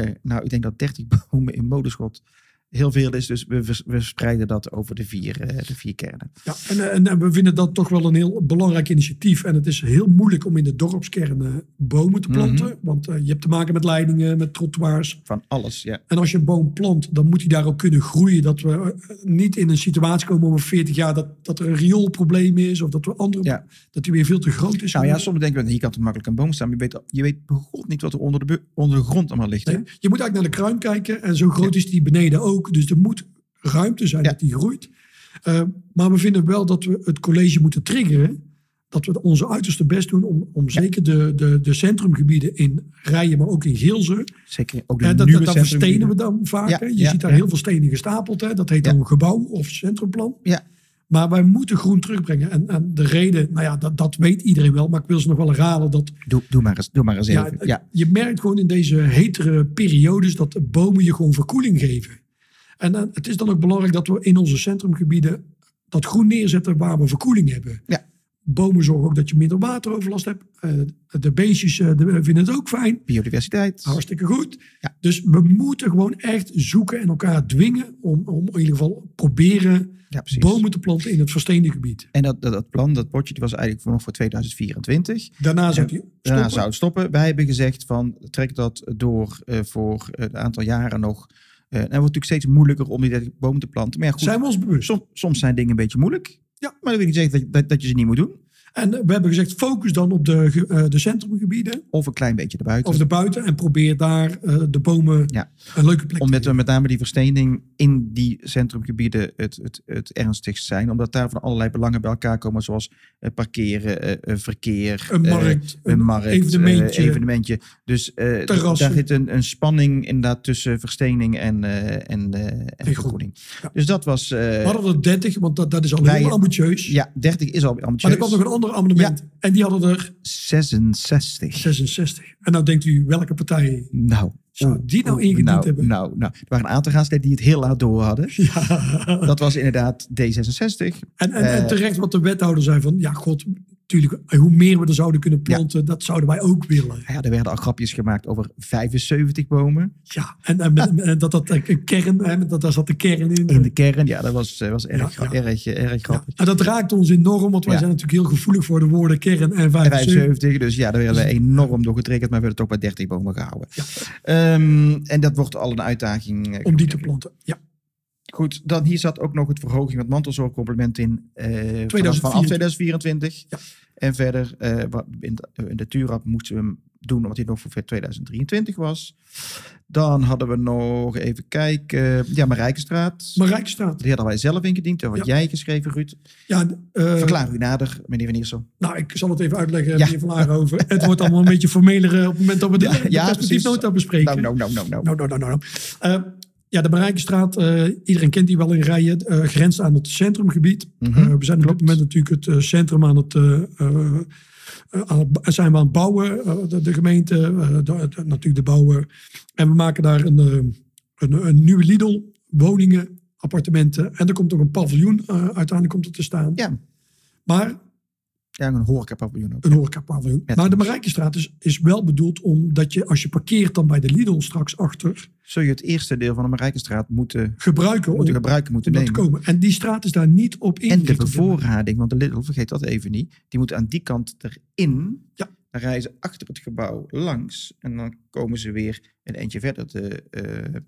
Speaker 1: Eh, nou, ik denk dat 30 [LAUGHS] bomen in Modeschot heel veel is. Dus we, vers- we verspreiden dat over de vier, eh, de vier kernen.
Speaker 2: Ja, en, eh, en, en we vinden dat toch wel een heel belangrijk initiatief. En het is heel moeilijk om in de dorpskern eh, bomen te planten.
Speaker 1: Mhm.
Speaker 2: Want eh, je hebt te maken met leidingen, met trottoirs.
Speaker 1: Van alles, ja.
Speaker 2: En als je een boom plant, dan moet die daar ook kunnen groeien. Dat we eh, niet in een situatie komen over 40 jaar dat, dat er een rioolprobleem is. Of dat we andere,
Speaker 1: Ja.
Speaker 2: dat die weer veel te groot is.
Speaker 1: Nou ja, soms denken we, hier kan toch makkelijk een boom staan. Maar je weet, je weet bijvoorbeeld niet wat er onder de, bu- onder de grond allemaal ligt. hè?
Speaker 2: Nee, je moet eigenlijk naar de kruin kijken. En zo groot is die beneden ook. Dus er moet ruimte zijn
Speaker 1: Ja.
Speaker 2: dat die groeit. Eh, maar we vinden wel dat we het college moeten triggeren. Dat we onze uiterste best doen om, om zeker de, de, de centrumgebieden in Rijen, maar ook in Geelze.
Speaker 1: Zeker ook de
Speaker 2: Hè, dat,
Speaker 1: nieuwe
Speaker 2: dat, dat
Speaker 1: centrumgebieden.
Speaker 2: verstenen we dan vaak.
Speaker 1: Ja,
Speaker 2: hè. Je
Speaker 1: ja,
Speaker 2: ziet daar
Speaker 1: ja.
Speaker 2: heel veel stenen gestapeld. Hè. Dat heet
Speaker 1: Ja.
Speaker 2: dan een gebouw of centrumplan.
Speaker 1: Ja.
Speaker 2: Maar wij moeten groen terugbrengen. En, en de reden, nou ja, dat, dat weet iedereen wel. Maar ik wil ze nog wel herhalen dat
Speaker 1: Doe, doe, maar eens, doe maar eens
Speaker 2: ja,
Speaker 1: even. Ja,
Speaker 2: Je merkt gewoon in deze hetere periodes dat de bomen je gewoon verkoeling geven. En dan, het is dan ook belangrijk dat we in onze centrumgebieden dat groen neerzetten waar we verkoeling hebben.
Speaker 1: Ja.
Speaker 2: Bomen zorgen ook dat je minder wateroverlast hebt. Eh, de beestjes eh, de- vinden het ook fijn.
Speaker 1: biodiversiteit.
Speaker 2: Hartstikke goed.
Speaker 1: Ja.
Speaker 2: Dus we moeten gewoon echt zoeken en elkaar dwingen om, om in ieder geval proberen
Speaker 1: Ja, precies.
Speaker 2: bomen te planten in het versteende gebied.
Speaker 1: En dat, dat, dat plan, dat potje, die was eigenlijk voor nog voor 2024.
Speaker 2: Daarna zou je
Speaker 1: daarna
Speaker 2: stoppen.
Speaker 1: zou het stoppen. Wij hebben gezegd van trek dat door eh, voor eh, een aantal jaren nog. Eh, en het wordt natuurlijk steeds moeilijker om die 30 bomen te planten. Maar ja, goed,
Speaker 2: Zijn we ons bewust?
Speaker 1: soms, soms zijn dingen een beetje moeilijk.
Speaker 2: Ja.
Speaker 1: Maar dat wil niet zeggen dat, je- dat, dat je ze niet moet doen.
Speaker 2: En eh, we hebben gezegd focus dan op de, ge- eh, de centrumgebieden.
Speaker 1: Of een klein beetje erbuiten.
Speaker 2: Of de buiten en probeer daar eh, de bomen
Speaker 1: Ja.
Speaker 2: een leuke plek te
Speaker 1: Omdat
Speaker 2: geven.
Speaker 1: we met name die verstening in die centrumgebieden het, het, het ernstigst zijn. Omdat daar van allerlei belangen bij elkaar komen. Zoals eh, parkeren, eh, eh, verkeer.
Speaker 2: Een
Speaker 1: eh,
Speaker 2: markt,
Speaker 1: een,
Speaker 2: een
Speaker 1: markt,
Speaker 2: evenementje.
Speaker 1: eh, evenementje. Dus eh, d-
Speaker 2: Terrassen.
Speaker 1: daar zit een, een spanning inderdaad tussen verstening en, eh en, eh en
Speaker 2: groen.
Speaker 1: vergroening.
Speaker 2: Ja.
Speaker 1: Dus dat was... eh,
Speaker 2: We hadden er 30, want dat, dat is al
Speaker 1: Wij-
Speaker 2: heel ambitieus.
Speaker 1: ja, 30 is al
Speaker 2: Maar
Speaker 1: ambitieus.
Speaker 2: er kwam nog een ander amendement en die hadden er
Speaker 1: 66.
Speaker 2: 66. En nou denkt u, welke partij
Speaker 1: Nou,
Speaker 2: zou die nou ingediend
Speaker 1: nou, [LAUGHS]
Speaker 2: hebben?
Speaker 1: nou, nou, er waren een aantal raadsleden die het heel laat door hadden.
Speaker 2: Ja.
Speaker 1: Dat was inderdaad D66.
Speaker 2: En, en, en
Speaker 1: Eh.
Speaker 2: terecht wat de wethouder zei van, ja god, natuurlijk, eh, hoe meer we er zouden kunnen planten, dat zouden wij ook willen.
Speaker 1: Ja, er werden al grapjes gemaakt over 75 bomen
Speaker 2: Ja, en,
Speaker 1: [LAUGHS]
Speaker 2: en, met- en dat dat eh, een kern, hè, dat, daar zat de kern in.
Speaker 1: in de kern. Ja, dat was, eh, was erg,
Speaker 2: Ja, ja.
Speaker 1: erg, eh, erg
Speaker 2: Ja.
Speaker 1: grappig.
Speaker 2: En dat raakt ons enorm, want wij
Speaker 1: Ja.
Speaker 2: zijn natuurlijk heel gevoelig voor de woorden kern en 75.
Speaker 1: 75, dus ja, daar werden we enorm door getriggerd, maar we hebben het ook bij 30 bomen gehouden.
Speaker 2: Ja.
Speaker 1: Ehm, en dat wordt al een uitdaging. eh,
Speaker 2: Om die te planten. Ja.
Speaker 1: Goed, dan hier zat ook nog het verhoging van het mantelzorgcomplement in eh, vanaf- vanaf 2024.
Speaker 2: Ja.
Speaker 1: En verder eh, wat in de, in de TURAP moesten we hem doen omdat hij nog voor 2023 was. Dan hadden we nog even kijken. Ja, Marijkenstraat.
Speaker 2: Maar Rijksstraat.
Speaker 1: Die hadden wij zelf ingediend. Dat had
Speaker 2: Ja.
Speaker 1: jij geschreven, Ruud.
Speaker 2: Ja, eh,
Speaker 1: Verklaar u nader, meneer Van Iersel.
Speaker 2: nou, ik zal het even uitleggen,
Speaker 1: Ja.
Speaker 2: meneer Van Laarhoven. Het wordt allemaal een beetje formeler eh, op het moment dat we de,
Speaker 1: Ja,
Speaker 2: de
Speaker 1: ja,
Speaker 2: perspectiefnota
Speaker 1: Nou,
Speaker 2: bespreken.
Speaker 1: nou, nou, nou, nou.
Speaker 2: Nou, nou, nou, nou. Eh, ja, de Marijkenstraat, eh, iedereen kent die wel in rijen, eh, grenst aan het centrumgebied.
Speaker 1: Mhm,
Speaker 2: Eh, we zijn op dit moment natuurlijk het eh, centrum aan het, eh, eh, eh, aan het b- zijn we aan het bouwen, eh, de, de gemeente, eh, de- de- natuurlijk de bouwer. En we maken daar een, eh, een, een nieuwe Lidl, woningen, appartementen. En er komt ook een paviljoen, eh, uiteindelijk komt er te staan.
Speaker 1: Ja.
Speaker 2: Maar
Speaker 1: Ja, een horecapaviljoen ook.
Speaker 2: een horecapaviljoen.
Speaker 1: Met
Speaker 2: Maar de
Speaker 1: ons.
Speaker 2: Marijkenstraat is, is wel bedoeld omdat je, als je parkeert dan bij de Lidl straks achter,
Speaker 1: Zul je het eerste deel van de Marijkenstraat moeten,
Speaker 2: gebruiken om,
Speaker 1: moeten gebruiken, moeten
Speaker 2: om dat te
Speaker 1: nemen.
Speaker 2: komen. En die straat is daar niet op
Speaker 1: En
Speaker 2: ingericht.
Speaker 1: de
Speaker 2: op dit
Speaker 1: bevoorrading, want de Lidl, vergeet dat even niet. Die moet aan die kant erin.
Speaker 2: Ja.
Speaker 1: Dan rijden ze achter het gebouw langs. En dan komen ze weer een eentje verder. De, eh,
Speaker 2: moment. Ja,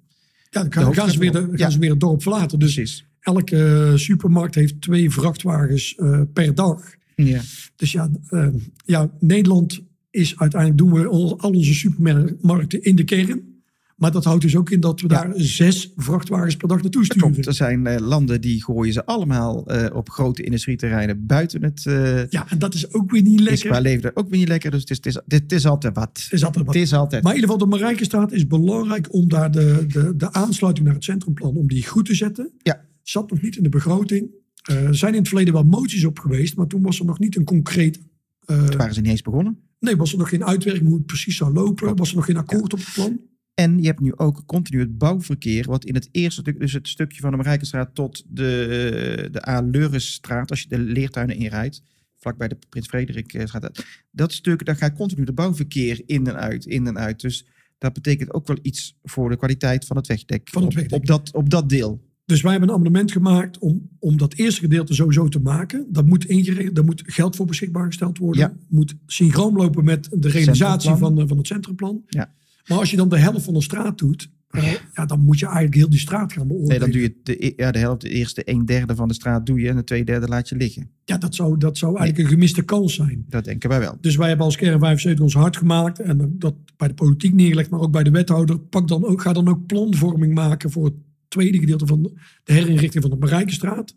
Speaker 2: dan
Speaker 1: de
Speaker 2: gaan, gaan ze weer de,
Speaker 1: hoofdstraat.
Speaker 2: gaan
Speaker 1: Ja.
Speaker 2: ze weer het dorp verlaten. Dus
Speaker 1: precies.
Speaker 2: elke eh, supermarkt heeft twee vrachtwagens eh, per dag.
Speaker 1: Ja.
Speaker 2: Dus ja, eh, ja, Nederland is uiteindelijk, doen we al al onze supermarkten in de kern. Maar dat houdt dus ook in dat we
Speaker 1: Ja.
Speaker 2: daar zes vrachtwagens per dag naartoe sturen.
Speaker 1: Klopt, er zijn eh, landen die gooien ze allemaal eh, op grote industrieterreinen buiten het... eh
Speaker 2: Ja, en dat is ook weer niet
Speaker 1: is
Speaker 2: lekker.
Speaker 1: qua leven daar ook weer niet lekker. Dus het is, het is, het is altijd wat.
Speaker 2: Het is altijd wat
Speaker 1: Het is altijd
Speaker 2: Maar in ieder geval, de Marijkenstraat is belangrijk om daar de, de, de aansluiting naar het centrumplan om die goed te zetten.
Speaker 1: Ja.
Speaker 2: Zat nog niet in de begroting. Eh, er zijn in het verleden wel moties op geweest, maar toen was er nog niet een concreet. eh,
Speaker 1: waren ze niet eens begonnen.
Speaker 2: nee, was er nog geen uitwerking hoe het precies zou lopen. Was er nog geen akkoord op het plan.
Speaker 1: En je hebt nu ook continu het bouwverkeer, wat in het eerste stuk, dus het stukje van de Marijkenstraat tot de, de A. Leurisstraat, als je de leertuinen inrijdt, vlakbij de Prins Frederikstraat, dat stuk, daar gaat continu het bouwverkeer in en uit, in en uit. Dus dat betekent ook wel iets voor de kwaliteit van het wegdek,
Speaker 2: Van het
Speaker 1: op-
Speaker 2: wegdek.
Speaker 1: Op, dat, op dat deel.
Speaker 2: Dus wij hebben een amendement gemaakt om, om dat eerste gedeelte sowieso te maken. Dat moet ingericht, daar moet geld voor beschikbaar gesteld worden.
Speaker 1: Ja.
Speaker 2: Moet synchroon lopen met de realisatie
Speaker 1: Centrumplan.
Speaker 2: van, eh, van het centrumplan.
Speaker 1: Ja.
Speaker 2: Maar als je dan de helft van een straat doet, eh, ja, dan moet je eigenlijk heel die straat gaan beoordelen.
Speaker 1: Nee, dan doe je de, e- ja, de helft, de eerste een derde van de straat doe je en de twee derde laat je liggen.
Speaker 2: Ja, dat zou, dat zou eigenlijk een gemiste kans zijn.
Speaker 1: Dat denken wij wel.
Speaker 2: Dus wij hebben als Kern 75 ons hard gemaakt en dat bij de politiek neergelegd, maar ook bij de wethouder. Pak dan ook, ga dan ook planvorming maken voor het tweede gedeelte van de herinrichting van de Marijkenstraat.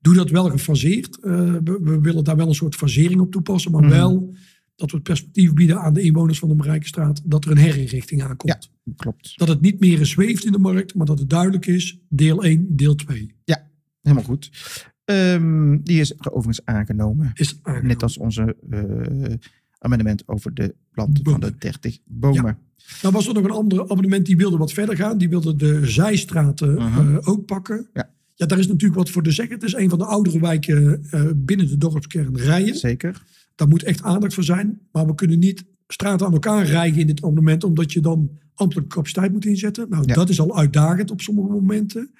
Speaker 2: Doe dat wel gefaseerd. Eh, we, we willen daar wel een soort fasering op toepassen, maar
Speaker 1: Mhm.
Speaker 2: wel dat we het perspectief bieden aan de inwoners van de Marijkenstraat dat er een herinrichting aankomt.
Speaker 1: Klopt.
Speaker 2: Dat het niet meer zweeft in de markt, maar dat het duidelijk is, deel 1, deel 2
Speaker 1: Helemaal goed. Ehm, die is overigens aangenomen.
Speaker 2: is aangenomen.
Speaker 1: Net als onze eh, amendement over de planten van de
Speaker 2: Bomen.
Speaker 1: 30 bomen.
Speaker 2: Nou was er nog een ander abonnement die wilde wat verder gaan. Die wilde de zijstraten
Speaker 1: Mhm.
Speaker 2: eh, ook pakken.
Speaker 1: Ja.
Speaker 2: ja, daar is natuurlijk wat voor te zeggen. Het is een van de oudere wijken eh, binnen de dorpskern Rijen.
Speaker 1: Zeker.
Speaker 2: Daar moet echt aandacht voor zijn. Maar we kunnen niet straten aan elkaar rijgen in dit abonnement. Omdat je dan ambtelijke capaciteit moet inzetten. Nou,
Speaker 1: Ja.
Speaker 2: dat is al uitdagend op sommige momenten.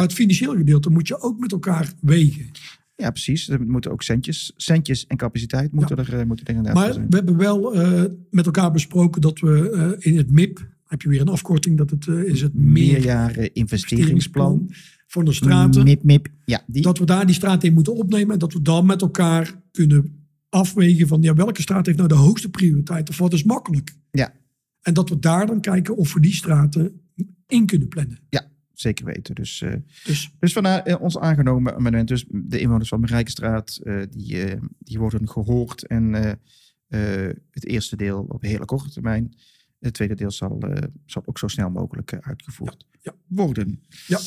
Speaker 1: Ja.
Speaker 2: het financieel gedeelte moet je ook met elkaar wegen.
Speaker 1: Ja, precies. Er moeten ook centjes, centjes en capaciteit moeten, er, eh, moeten er inderdaad
Speaker 2: Maar
Speaker 1: zijn.
Speaker 2: we hebben wel eh, met elkaar besproken dat we eh, in het MIP... heb je weer een afkorting, dat het eh, is het meer...
Speaker 1: Meerjaren investeringsplan.
Speaker 2: voor de straten.
Speaker 1: Mip, mip. Ja, die.
Speaker 2: Dat we daar die straat in moeten opnemen. En dat we dan met elkaar kunnen afwegen van ja, welke straat heeft nou de hoogste prioriteit of wat is makkelijk.
Speaker 1: Ja.
Speaker 2: En dat we daar dan kijken of we die straten in kunnen plannen.
Speaker 1: Zeker weten. Dus, eh,
Speaker 2: Dus
Speaker 1: dus vandaar eh, ons aangenomen amendement. Dus de inwoners van Marijkenstraat, eh, die, eh, die worden gehoord. En eh, eh, het eerste deel op hele korte termijn. Het tweede deel zal, eh, zal ook zo snel mogelijk eh, uitgevoerd
Speaker 2: Ja,
Speaker 1: worden.
Speaker 2: Ja.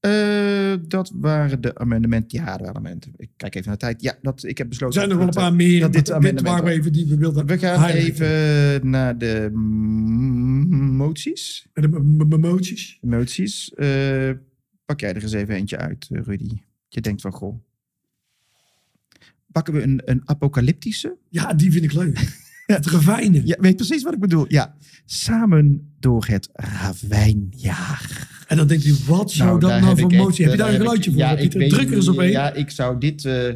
Speaker 1: Eh, dat waren de amendementen. Ja, de amendementen. Ik kijk even naar de tijd. Ja, dat, ik heb
Speaker 2: er
Speaker 1: besloten.
Speaker 2: zijn er wel een
Speaker 1: dat, eh,
Speaker 2: paar meer.
Speaker 1: dat dit
Speaker 2: Dit, dit
Speaker 1: amendement
Speaker 2: waren we even die we wilden.
Speaker 1: We gaan
Speaker 2: highlighten.
Speaker 1: even naar de m- moties.
Speaker 2: Met de m- m- moties.
Speaker 1: Moties. Eh, pak jij er eens even eentje uit, eh, Rudy. Je denkt van, goh. Pakken we een, een apocalyptische?
Speaker 2: Ja, die vind ik leuk. Het ravijnen.
Speaker 1: Ja, weet precies wat ik bedoel. Ja. Samen door het ravijnjaar.
Speaker 2: En dan denk je, wat zou
Speaker 1: daar
Speaker 2: dat nou
Speaker 1: heb
Speaker 2: voor
Speaker 1: ik echt,
Speaker 2: motie? Heb je
Speaker 1: eh,
Speaker 2: daar een
Speaker 1: heb
Speaker 2: geluidje
Speaker 1: ik-
Speaker 2: voor?
Speaker 1: Ja,
Speaker 2: Pieter?
Speaker 1: ik weet
Speaker 2: Druk er eens
Speaker 1: niet.
Speaker 2: op één.
Speaker 1: Ja, ik zou dit... eh,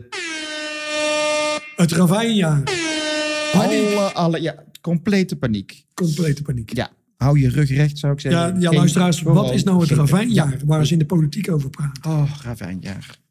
Speaker 2: Het ravijnjaar. Paniek.
Speaker 1: alle, alle, ja, complete paniek.
Speaker 2: Complete paniek.
Speaker 1: Ja. Hou je rug recht, zou ik zeggen.
Speaker 2: Ja, ja
Speaker 1: Geen-
Speaker 2: luisteraars, wat
Speaker 1: vooral
Speaker 2: is nou het
Speaker 1: geen-
Speaker 2: ravijnjaar waar ze in de politiek over praten?
Speaker 1: Oh, ravijnjaar.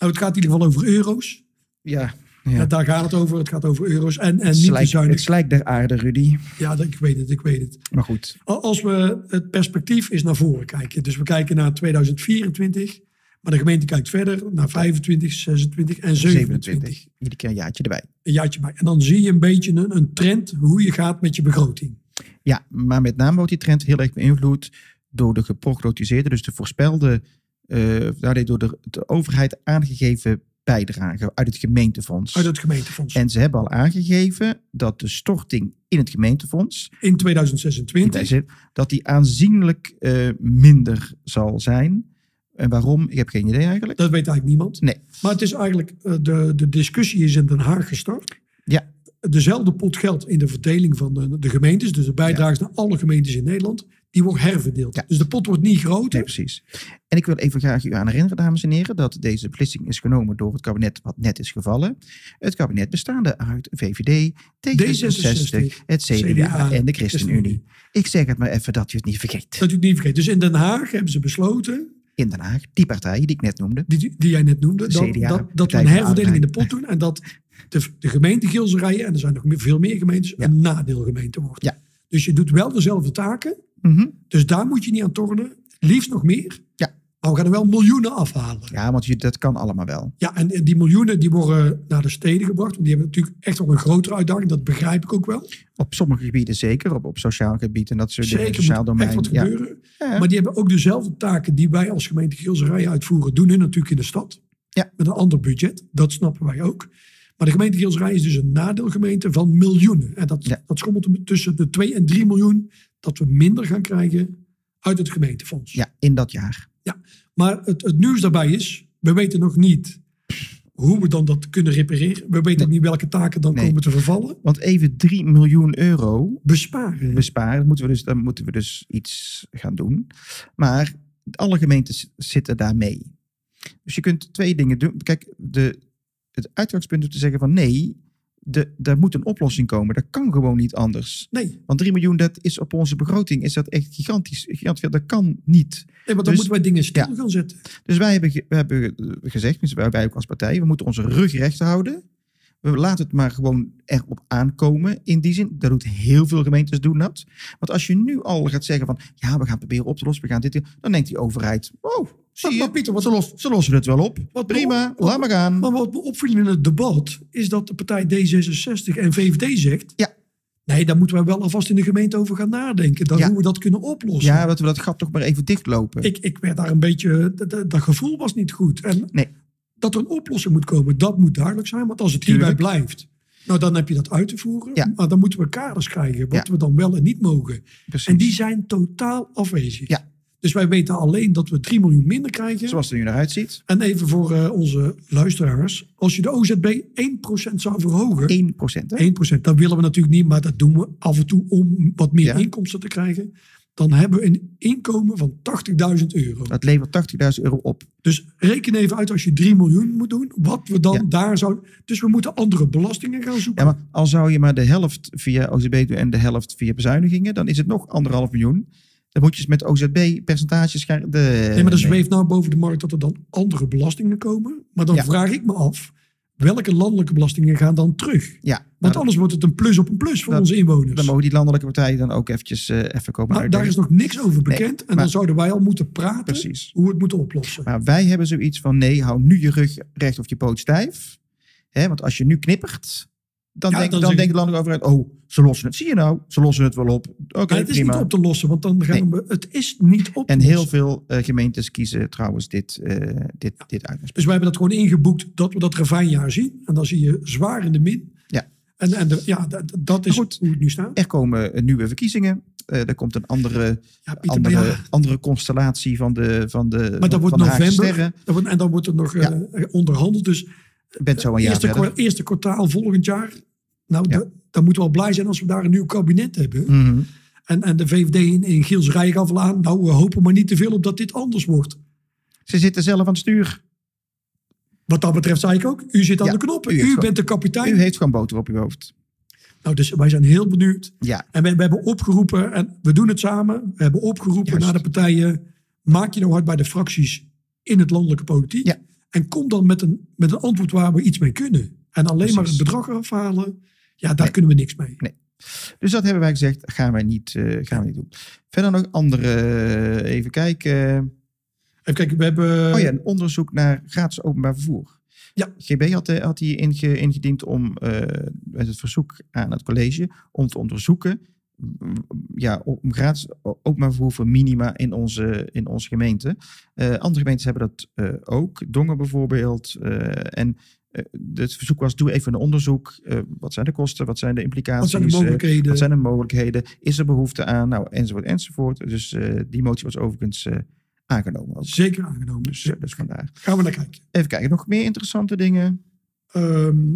Speaker 2: Nou, het gaat in ieder geval over euro's.
Speaker 1: Ja.
Speaker 2: Ja, daar gaat het over. Het gaat over euro's en, en
Speaker 1: Het
Speaker 2: niet te
Speaker 1: slijk, het
Speaker 2: zuinig.
Speaker 1: slijk der aarde, Rudy.
Speaker 2: Ja, dat- ik weet het, ik weet het.
Speaker 1: Maar goed.
Speaker 2: A- Als we het perspectief is naar voren kijken. Dus we kijken naar 2024. Maar de gemeente kijkt verder naar 25, 26 en 27.
Speaker 1: 27. Iedere keer een jaartje erbij.
Speaker 2: Een jaartje bij. En dan zie je een beetje een, een trend hoe je gaat met je begroting.
Speaker 1: Ja, maar met name wordt die trend heel erg beïnvloed door de geprognotiseerde, dus de voorspelde, eh, daarmee door de, de overheid aangegeven bijdrage uit het gemeentefonds.
Speaker 2: Uit het gemeentefonds.
Speaker 1: En ze hebben al aangegeven dat de storting in het gemeentefonds,
Speaker 2: in 2026.
Speaker 1: dat die aanzienlijk eh, minder zal zijn. En waarom? Ik heb geen idee eigenlijk.
Speaker 2: Dat weet eigenlijk niemand.
Speaker 1: Nee.
Speaker 2: Maar het is eigenlijk, eh, de, de discussie is in Den Haag gestart.
Speaker 1: Ja.
Speaker 2: Dezelfde pot geld in de verdeling van de, de gemeentes, dus de bijdrage naar alle gemeentes in Nederland, die wordt herverdeeld.
Speaker 1: Ja.
Speaker 2: Dus de pot wordt niet groter.
Speaker 1: Nee, precies. En ik wil even graag u aan herinneren, dames en heren, dat deze beslissing is genomen door het kabinet wat net is gevallen. Het kabinet bestaande uit VVD, D66,
Speaker 2: D66,
Speaker 1: het CDA,
Speaker 2: CDA
Speaker 1: en de ChristenUnie. Ik zeg het maar even dat u het niet vergeet.
Speaker 2: Dat u het niet vergeet. Dus in Den Haag hebben ze besloten,
Speaker 1: In Den Haag, die partij die ik net noemde.
Speaker 2: die, die jij net noemde, dat,
Speaker 1: CDA,
Speaker 2: dat, dat we
Speaker 1: Partij
Speaker 2: een
Speaker 1: van de
Speaker 2: herverdeling in de
Speaker 1: Arbeid.
Speaker 2: pot doen. En dat de, de gemeente Gilserijen, en er zijn nog meer- veel meer gemeentes,
Speaker 1: Ja.
Speaker 2: een nadeelgemeente wordt.
Speaker 1: Ja.
Speaker 2: Dus je doet wel dezelfde taken,
Speaker 1: Mhm.
Speaker 2: Dus daar moet je niet aan tornen. Liefst nog meer.
Speaker 1: Ja.
Speaker 2: Maar we gaan er wel miljoenen afhalen. Ja,
Speaker 1: Ja, want je, dat kan allemaal wel.
Speaker 2: en die miljoenen die worden naar de steden gebracht. Want die hebben natuurlijk echt wel een grotere uitdaging. Dat begrijp ik ook wel.
Speaker 1: Op sommige gebieden zeker, op, op sociaal gebied en dat soort dingen,
Speaker 2: Zeker
Speaker 1: sociaal
Speaker 2: moet echt
Speaker 1: domein.
Speaker 2: wat
Speaker 1: Ja.
Speaker 2: gebeuren.
Speaker 1: Ja.
Speaker 2: Maar die hebben ook dezelfde taken die wij als gemeente Gilserijen uitvoeren. Doen hun natuurlijk in de stad.
Speaker 1: Ja.
Speaker 2: Met een ander budget. Dat snappen wij ook. Maar de gemeente Gilserijen is dus een nadeelgemeente van miljoenen. En dat,
Speaker 1: Ja.
Speaker 2: dat schommelt tussen de 2 en 3 miljoen dat we minder gaan krijgen uit het gemeentefonds.
Speaker 1: Ja, in dat jaar.
Speaker 2: Ja, maar het, het nieuws daarbij is, we weten nog niet hoe we dan dat kunnen repareren. We weten ook niet welke taken dan
Speaker 1: Nee.
Speaker 2: komen te vervallen.
Speaker 1: Want even 3 miljoen euro
Speaker 2: Besparen.
Speaker 1: besparen, moeten we dus, dan moeten we dus iets gaan doen. Maar alle gemeentes zitten daar mee. Dus je kunt twee dingen doen. Kijk, de, het uitgangspunt is te zeggen van nee, de, daar moet een oplossing komen. Dat kan gewoon niet anders.
Speaker 2: nee. nee,
Speaker 1: Want 3 miljoen, dat is op onze begroting, is dat echt gigantisch. gigantisch veel. dat kan niet.
Speaker 2: want dan
Speaker 1: Dus-
Speaker 2: moeten wij dingen stil
Speaker 1: ja.
Speaker 2: gaan zetten.
Speaker 1: Dus wij hebben, ge- we hebben eh, gezegd, dus wij, wij ook als partij, we moeten onze rug recht houden. We laten het maar gewoon erop aankomen in die zin. Dat doet heel veel gemeentes doen dat. Want als je nu al gaat zeggen van, ja, we gaan proberen op te lossen, we gaan dit, doen, dan denkt die overheid, wow, zie
Speaker 2: Maar, maar
Speaker 1: je,
Speaker 2: Pieter, wat,
Speaker 1: ze, los, ze lossen het wel op.
Speaker 2: Wat
Speaker 1: Prima,
Speaker 2: wel-
Speaker 1: laat maar gaan.
Speaker 2: maar wat me opviel in het debat is dat de partij D66 en VVD zegt...
Speaker 1: Ja.
Speaker 2: Nee, daar moeten wij wel alvast in de gemeente over gaan nadenken. Dan
Speaker 1: Ja.
Speaker 2: hoe we dat kunnen oplossen.
Speaker 1: Ja, dat we dat gat toch maar even dichtlopen.
Speaker 2: Ik, ik werd daar een beetje... Dat, dat- dat gevoel was niet goed. En
Speaker 1: Nee.
Speaker 2: dat er een oplossing moet komen, dat moet duidelijk zijn. Want als het hierbij
Speaker 1: Tuurlijk.
Speaker 2: blijft, nou dan heb je dat uit te voeren.
Speaker 1: Ja.
Speaker 2: Maar dan moeten we kaders krijgen, wat
Speaker 1: Ja.
Speaker 2: we dan wel en niet mogen.
Speaker 1: Precies.
Speaker 2: En die zijn totaal afwezig.
Speaker 1: Ja.
Speaker 2: Dus wij weten alleen dat we 3 miljoen minder krijgen.
Speaker 1: Zoals het er nu naar uitziet.
Speaker 2: En even voor eh, onze luisteraars. Als je de OZB 1% zou verhogen.
Speaker 1: 1 procent.
Speaker 2: 1%, dat willen we natuurlijk niet, maar dat doen we af en toe om wat meer
Speaker 1: Ja.
Speaker 2: inkomsten te krijgen. Dan hebben we een inkomen van 80.000 euro.
Speaker 1: Dat levert 80.000 euro op.
Speaker 2: Dus reken even uit als je 3 miljoen moet doen, wat we dan
Speaker 1: Ja.
Speaker 2: daar zouden. Dus we moeten andere belastingen gaan zoeken.
Speaker 1: Ja, maar al zou je maar de helft via OZB doen en de helft via bezuinigingen, dan is het nog anderhalf miljoen. Dan moet je eens met OZB percentages gaan. De,
Speaker 2: nee, maar er zweeft nou boven de markt dat er dan andere belastingen komen. Maar dan
Speaker 1: Ja.
Speaker 2: vraag ik me af, welke landelijke belastingen gaan dan terug?
Speaker 1: Ja,
Speaker 2: Want
Speaker 1: nou,
Speaker 2: anders wordt het een plus op een plus voor
Speaker 1: Dat-
Speaker 2: onze inwoners.
Speaker 1: dan mogen die landelijke partijen dan ook eventjes eh, even komen
Speaker 2: Maar daar
Speaker 1: uitleggen.
Speaker 2: is nog niks over bekend. en
Speaker 1: maar-
Speaker 2: dan zouden wij al moeten praten
Speaker 1: Precies.
Speaker 2: hoe we het moeten oplossen.
Speaker 1: Maar wij hebben zoiets van nee, hou nu je rug recht of je poot stijf. Hè, want als je nu knippert, dan,
Speaker 2: Ja,
Speaker 1: denk,
Speaker 2: dan
Speaker 1: dan,
Speaker 2: zeg-
Speaker 1: denkt de landelijke overheid, oh, ze lossen het. Zie je nou, ze lossen het wel op. Oké,
Speaker 2: Maar het is
Speaker 1: prima.
Speaker 2: niet op te lossen, want dan gaan we. Het is niet op te
Speaker 1: en heel
Speaker 2: lossen.
Speaker 1: veel eh, gemeentes kiezen trouwens dit, eh dit, dit uit.
Speaker 2: Dus wij hebben dat gewoon ingeboekt dat we dat ravijnjaar zien. En dan zie je zwaar in de min.
Speaker 1: Ja.
Speaker 2: En, en de- ja, dat, dat is
Speaker 1: Maar goed.
Speaker 2: hoe het nu staat.
Speaker 1: Er komen eh, nieuwe verkiezingen. Eh, er komt een andere
Speaker 2: Ja, Pieter, maar,
Speaker 1: andere,
Speaker 2: ja,
Speaker 1: andere constellatie van de van de
Speaker 2: maar
Speaker 1: van
Speaker 2: dat wordt
Speaker 1: de Haagse
Speaker 2: november.
Speaker 1: Sterren.
Speaker 2: Dat wordt, en dan wordt er nog eh, onderhandeld. Dus
Speaker 1: Je bent zo een jaar
Speaker 2: eerste,
Speaker 1: verder.
Speaker 2: kwa- eerste kwartaal volgend jaar. Nou,
Speaker 1: Ja.
Speaker 2: da- dan moeten we al blij zijn als we daar een nieuw kabinet hebben.
Speaker 1: Mhm.
Speaker 2: En, en de VVD in, in Giels Rij gaf al aan. Nou, we hopen maar niet te veel op dat dit anders wordt.
Speaker 1: Ze zitten zelf aan het stuur.
Speaker 2: Wat dat betreft zei ik ook, u zit aan
Speaker 1: Ja,
Speaker 2: de knoppen.
Speaker 1: u
Speaker 2: U,
Speaker 1: heeft gewoon-
Speaker 2: bent de kapitein.
Speaker 1: U heeft gewoon boter op uw hoofd.
Speaker 2: Nou, dus wij zijn heel benieuwd.
Speaker 1: Ja,
Speaker 2: En we, we hebben opgeroepen, en we doen het samen. We hebben opgeroepen
Speaker 1: Juist.
Speaker 2: naar de partijen. Maak je nou hard bij de fracties in het landelijke politiek.
Speaker 1: Ja.
Speaker 2: En kom dan met een, met een antwoord waar we iets mee kunnen. En alleen maar het
Speaker 1: Precies.
Speaker 2: bedrag afhalen, ja, daar
Speaker 1: Nee.
Speaker 2: kunnen we niks mee.
Speaker 1: dus dat hebben wij gezegd. Gaan wij niet, eh, gaan we niet doen. Verder nog andere. eh, even kijken.
Speaker 2: Even kijken, we hebben...
Speaker 1: Oh ja, een onderzoek naar gratis openbaar vervoer.
Speaker 2: Eh, Ja.
Speaker 1: GB had, eh, had die inge- ingediend om eh, met het verzoek aan het college om te onderzoeken. mm, Ja, om gratis o- openbaar vervoer voor minima in onze, in onze gemeente. Eh, andere gemeentes hebben dat eh, ook. Dongen bijvoorbeeld. eh, en eh, het verzoek was: doe even een onderzoek. Eh, wat zijn de kosten? Wat zijn de
Speaker 2: wat
Speaker 1: implicaties?
Speaker 2: zijn de
Speaker 1: eh,
Speaker 2: mogelijkheden?
Speaker 1: wat zijn de mogelijkheden? Is er behoefte aan? Nou, enzovoort, enzovoort. Dus eh, die motie was overigens eh, aangenomen. Ook.
Speaker 2: Zeker aangenomen.
Speaker 1: Dus, eh, dus vandaar.
Speaker 2: Gaan we naar kijken.
Speaker 1: Even kijken, nog meer interessante dingen.
Speaker 2: Ehm,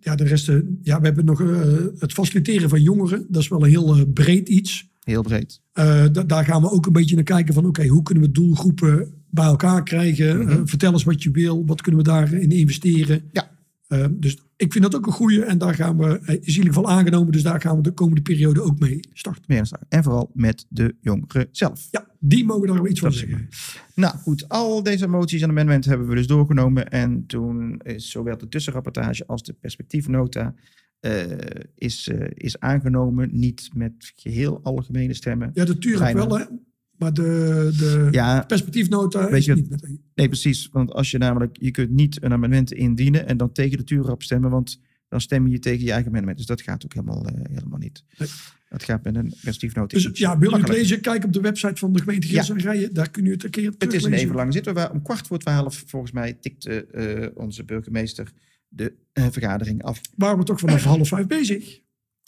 Speaker 2: ja, de rest... eh, Ja, we hebben nog eh, het faciliteren van jongeren. Dat is wel een heel eh, breed iets.
Speaker 1: Heel breed.
Speaker 2: Eh, da- daar gaan we ook een beetje naar kijken van oké, hoe kunnen we doelgroepen bij elkaar krijgen?
Speaker 1: Mhm.
Speaker 2: Eh, vertel eens wat je wil, wat kunnen we daarin investeren?
Speaker 1: Ja.
Speaker 2: Eh, dus ik vind dat ook een goede en daar gaan we, eh, is in ieder geval aangenomen, dus daar gaan we de komende periode ook mee starten.
Speaker 1: Meer dan straks. En vooral met de jongeren zelf.
Speaker 2: Ja, die mogen daar wel iets van
Speaker 1: Dat is
Speaker 2: zeggen.
Speaker 1: Nou goed, al deze moties en amendementen hebben we dus doorgenomen. En toen is zowel de tussenrapportage als de perspectiefnota eh, is, eh, is aangenomen. Niet met geheel algemene stemmen.
Speaker 2: Ja, de Turk
Speaker 1: Bijna.
Speaker 2: wel hè, maar de, de
Speaker 1: Ja,
Speaker 2: perspectiefnota
Speaker 1: Weet
Speaker 2: is
Speaker 1: je-
Speaker 2: niet meteen.
Speaker 1: nee precies. Want als je namelijk, je kunt niet een amendement indienen en dan tegen de tuurrap stemmen. Want dan stem je tegen je eigen amendement. Dus dat gaat ook helemaal, eh, helemaal niet.
Speaker 2: Nee.
Speaker 1: Dat gaat met een perspectiefnota.
Speaker 2: Dus
Speaker 1: iets
Speaker 2: ja, wil je het
Speaker 1: makkelijker.
Speaker 2: lezen, kijk op de website van de gemeente Gils en Rijen, daar kun je het een keer
Speaker 1: Het is
Speaker 2: teruglezen.
Speaker 1: een even lang zitten. We waren om kwart voor twaalf, volgens mij, tikte eh, onze burgemeester de eh, vergadering af.
Speaker 2: Waren we toch vanaf half vijf bezig?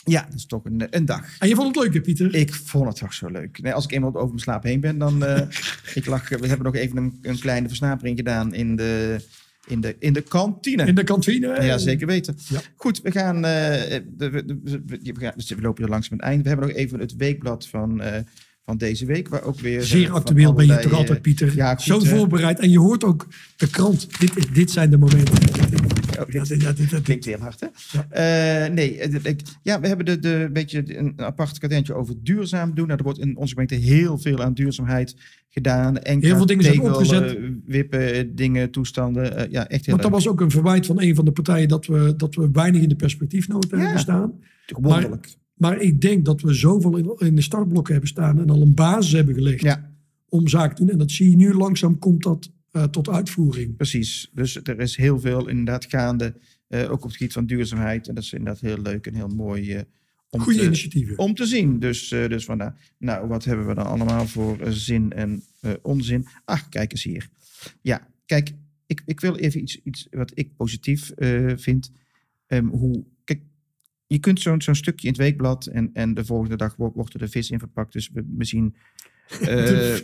Speaker 1: Ja, dat is toch een, een dag.
Speaker 2: En je vond het leuk, hè, Pieter?
Speaker 1: Ik vond het toch zo leuk. Nee, als ik eenmaal over mijn slaap heen ben, dan... eh,
Speaker 2: [LAUGHS]
Speaker 1: ik lag, we hebben nog even een, een kleine versnapering gedaan in de, in de, in de kantine.
Speaker 2: In de kantine.
Speaker 1: Ja, zeker weten.
Speaker 2: Ja.
Speaker 1: Goed, we gaan. eh, de- we, de- we- we- we gaan- dus we lopen er langs met het eind. We hebben nog even het weekblad van, eh, van deze week. Waar ook weer. eh,
Speaker 2: Zeer
Speaker 1: van
Speaker 2: actueel ben je
Speaker 1: allerlei,
Speaker 2: toch altijd,
Speaker 1: eh,
Speaker 2: Pieter?
Speaker 1: ja, goed,
Speaker 2: Zo
Speaker 1: hè.
Speaker 2: voorbereid. En je hoort ook de krant. Dit, is- dit zijn de momenten.
Speaker 1: Oh,
Speaker 2: Ja,
Speaker 1: dit
Speaker 2: dit, ja, dit, dat-
Speaker 1: klinkt heel hard, hè?
Speaker 2: Ja.
Speaker 1: Eh, nee, eh, ik- ja, we hebben de, de, een beetje een apart kadentje over duurzaam doen. Nou, er wordt in onze gemeente heel veel aan duurzaamheid gedaan. En
Speaker 2: Heel veel dingen zijn opgezet.
Speaker 1: wippen, dingen, toestanden. Eh, ja, echt heel
Speaker 2: Want dat was ook een verwijt van een van de partijen dat we, dat we weinig in de perspectiefnota
Speaker 1: Ja.
Speaker 2: hebben staan.
Speaker 1: leuk. Wonderlijk.
Speaker 2: Maar ik denk dat we zoveel in, in de startblokken hebben staan en al een basis hebben gelegd
Speaker 1: Ja.
Speaker 2: om zaken te doen. En dat zie je nu langzaam komt dat eh, tot uitvoering.
Speaker 1: Precies. Dus er is heel veel inderdaad gaande, eh, ook op het gebied van duurzaamheid. En dat is inderdaad heel leuk en heel mooi eh, om,
Speaker 2: Goede
Speaker 1: te,
Speaker 2: initiatieven.
Speaker 1: om te zien. Dus, eh dus vandaar. Nou, wat hebben we dan allemaal voor eh, zin en eh, onzin? Ach, kijk eens hier. Ja, kijk, ik, ik wil even iets, iets wat ik positief eh, vind. Ehm, hoe, kijk, je kunt zo'n zo'n stukje in het weekblad en, en de volgende dag wo- wordt er de vis in verpakt. Dus we, we zien... eh,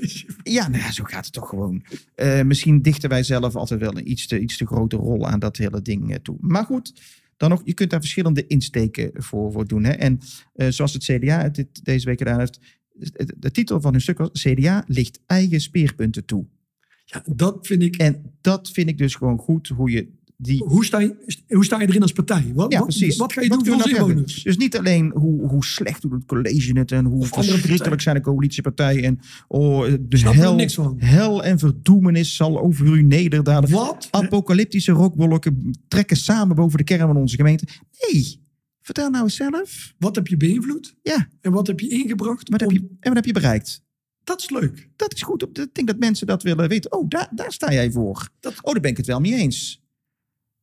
Speaker 1: ja, nou ja, zo gaat het toch gewoon. Eh, misschien dichten wij zelf altijd wel een iets te, iets te grote rol aan dat hele ding eh, toe. Maar goed, dan nog, je kunt daar verschillende insteken voor, voor doen. Hè? En eh, zoals het CDA het dit, deze week gedaan heeft, het- de titel van hun stuk was CDA ligt eigen speerpunten toe.
Speaker 2: [LAUGHS] ja, dat vind ik.
Speaker 1: En dat vind ik dus gewoon goed, hoe je die...
Speaker 2: Hoe sta, je, hoe sta je erin als partij? Wat,
Speaker 1: Ja,
Speaker 2: wat-
Speaker 1: precies.
Speaker 2: wat ga je doen
Speaker 1: kunnen
Speaker 2: voor
Speaker 1: we
Speaker 2: onze
Speaker 1: nou hebben?
Speaker 2: inwoners?
Speaker 1: Dus niet alleen hoe, hoe slecht doet het college het en hoe
Speaker 2: Of andere partijen.
Speaker 1: verschrikkelijk zijn de coalitiepartijen en oh, de
Speaker 2: Snap er
Speaker 1: hel,
Speaker 2: niks van.
Speaker 1: hel en verdoemenis zal over u nederdalen.
Speaker 2: Wat?
Speaker 1: Apocalyptische rookwolken trekken samen boven de kern van onze gemeente. Nee, vertel nou eens zelf.
Speaker 2: Wat heb je beïnvloed?
Speaker 1: Ja.
Speaker 2: En wat heb je ingebracht?
Speaker 1: Wat heb
Speaker 2: om-
Speaker 1: je, en wat heb je bereikt?
Speaker 2: Dat is leuk.
Speaker 1: Dat is goed. Ik denk dat mensen dat willen weten. Oh, daar, daar sta jij voor.
Speaker 2: Dat-
Speaker 1: Oh, daar ben ik het wel mee eens.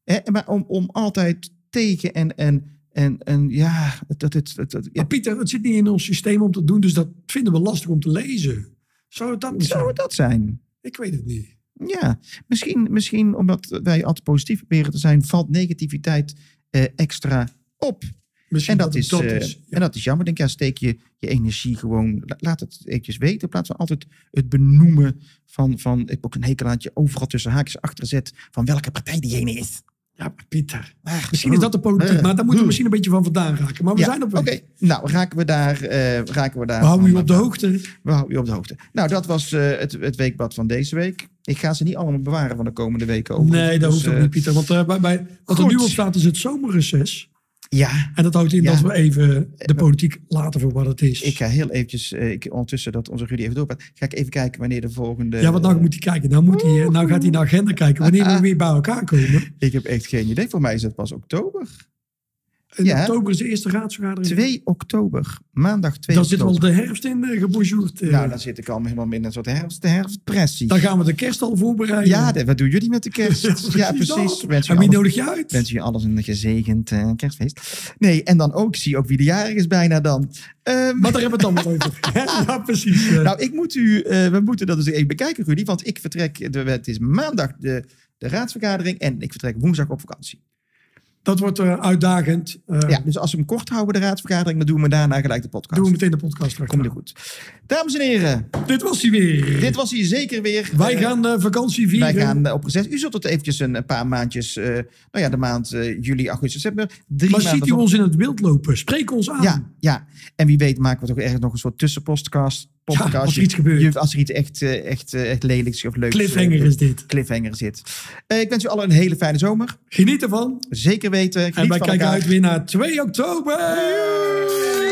Speaker 1: Hè, maar om, om altijd tegen en, en, en, en ja, dat het... Dat, dat, ja.
Speaker 2: Maar Pieter, het zit niet in ons systeem om te doen, dus dat vinden we lastig om te lezen. Zou het dat niet
Speaker 1: Zou
Speaker 2: zijn?
Speaker 1: het dat zijn?
Speaker 2: Ik weet het niet.
Speaker 1: Ja, misschien, misschien omdat wij altijd positief proberen te zijn, valt negativiteit eh, extra op.
Speaker 2: Misschien
Speaker 1: En dat, is, eh,
Speaker 2: ja.
Speaker 1: en dat is jammer. Denk ja, steek je, je energie gewoon. la- Laat het eventjes weten. In plaats van altijd het benoemen van. van ik heb ook een hekel aan dat je overal tussen haakjes achter zet. van welke partij diegene is.
Speaker 2: Ja, maar Pieter.
Speaker 1: Ah,
Speaker 2: Misschien is dat de politiek,
Speaker 1: eh,
Speaker 2: maar daar moeten we
Speaker 1: eh.
Speaker 2: misschien een beetje van vandaan raken. Maar we
Speaker 1: Ja,
Speaker 2: zijn op
Speaker 1: Oké,
Speaker 2: weg.
Speaker 1: nou raken we daar. eh, raken we daar
Speaker 2: We houden
Speaker 1: van-
Speaker 2: u op de hoogte.
Speaker 1: We houden je op de hoogte. Nou, dat was eh, het, het weekblad van deze week. Ik ga ze niet allemaal bewaren van de komende weken. over.
Speaker 2: Nee, dat
Speaker 1: Dus,
Speaker 2: hoeft ook
Speaker 1: eh,
Speaker 2: niet, Pieter. Want eh, bij, bij, wat er
Speaker 1: goed.
Speaker 2: nu op staat is het zomerreces.
Speaker 1: Ja,
Speaker 2: En dat houdt in
Speaker 1: Ja.
Speaker 2: dat we even de politiek laten voor wat het is.
Speaker 1: Ik ga heel eventjes, eh, ik, ondertussen dat onze Rudy even doorpraat, ga ik even kijken wanneer de volgende...
Speaker 2: ja, want nou moet hij kijken. Nou, moet hij, eh, nou gaat hij naar agenda kijken.
Speaker 1: Ah,
Speaker 2: Wanneer we weer bij elkaar komen.
Speaker 1: Ik heb echt geen idee. Voor mij is het pas oktober.
Speaker 2: In
Speaker 1: Ja.
Speaker 2: oktober is de eerste raadsvergadering.
Speaker 1: 2 oktober. Maandag 2
Speaker 2: Mhm. Dan zit
Speaker 1: oktober.
Speaker 2: wel de herfst in eh, gebonjourd. eh.
Speaker 1: Nou, dan zit ik al helemaal in een soort herfst, herfstpressie.
Speaker 2: Dan gaan we de kerst al voorbereiden.
Speaker 1: Ja, de- wat doen jullie met de kerst? ja, precies.
Speaker 2: [LAUGHS]
Speaker 1: Wens
Speaker 2: dat.
Speaker 1: je
Speaker 2: En wie
Speaker 1: alles,
Speaker 2: nodig je uit?
Speaker 1: wens je alles een gezegend eh, kerstfeest. Nee, en dan ook, zie ook wie de jarig is bijna dan. Ehm,
Speaker 2: Maar daar hebben we het dan weer
Speaker 1: [LAUGHS]
Speaker 2: over. ja, precies. eh.
Speaker 1: Nou, ik moet u, eh, we moeten dat dus even bekijken, Rudy. Want ik vertrek, de, het is maandag de, de raadsvergadering en ik vertrek woensdag op vakantie.
Speaker 2: dat wordt eh, uitdagend. Eh,
Speaker 1: Ja, dus als we hem kort houden, de raadsvergadering, dan doen we daarna gelijk de podcast.
Speaker 2: Doen we meteen de podcast terug.
Speaker 1: Komt er goed. Dames en heren,
Speaker 2: Dit was hij weer.
Speaker 1: dit was hier zeker weer.
Speaker 2: Wij
Speaker 1: Eh,
Speaker 2: gaan eh, vakantie
Speaker 1: wij
Speaker 2: vieren.
Speaker 1: gaan eh, op reces. U zult het eventjes een, een paar maandjes, eh, nou ja, de maand eh, juli, augustus, september. Drie
Speaker 2: maar
Speaker 1: maanden
Speaker 2: ziet u
Speaker 1: van-
Speaker 2: ons in het wild lopen? Spreek ons aan.
Speaker 1: Ja, ja, en wie weet maken we toch ergens nog een soort tussenpodcast. podcast.
Speaker 2: als er
Speaker 1: Je-
Speaker 2: iets gebeurt.
Speaker 1: je- als er iets echt, eh, echt, eh, echt lelijks of leuks
Speaker 2: Cliffhanger
Speaker 1: eh,
Speaker 2: is dit.
Speaker 1: cliffhanger zit. Eh, ik wens u allen een hele fijne zomer.
Speaker 2: Geniet ervan.
Speaker 1: Zeker weten. Geniet
Speaker 2: En wij
Speaker 1: van
Speaker 2: kijken
Speaker 1: elkaar.
Speaker 2: uit weer naar 2 oktober.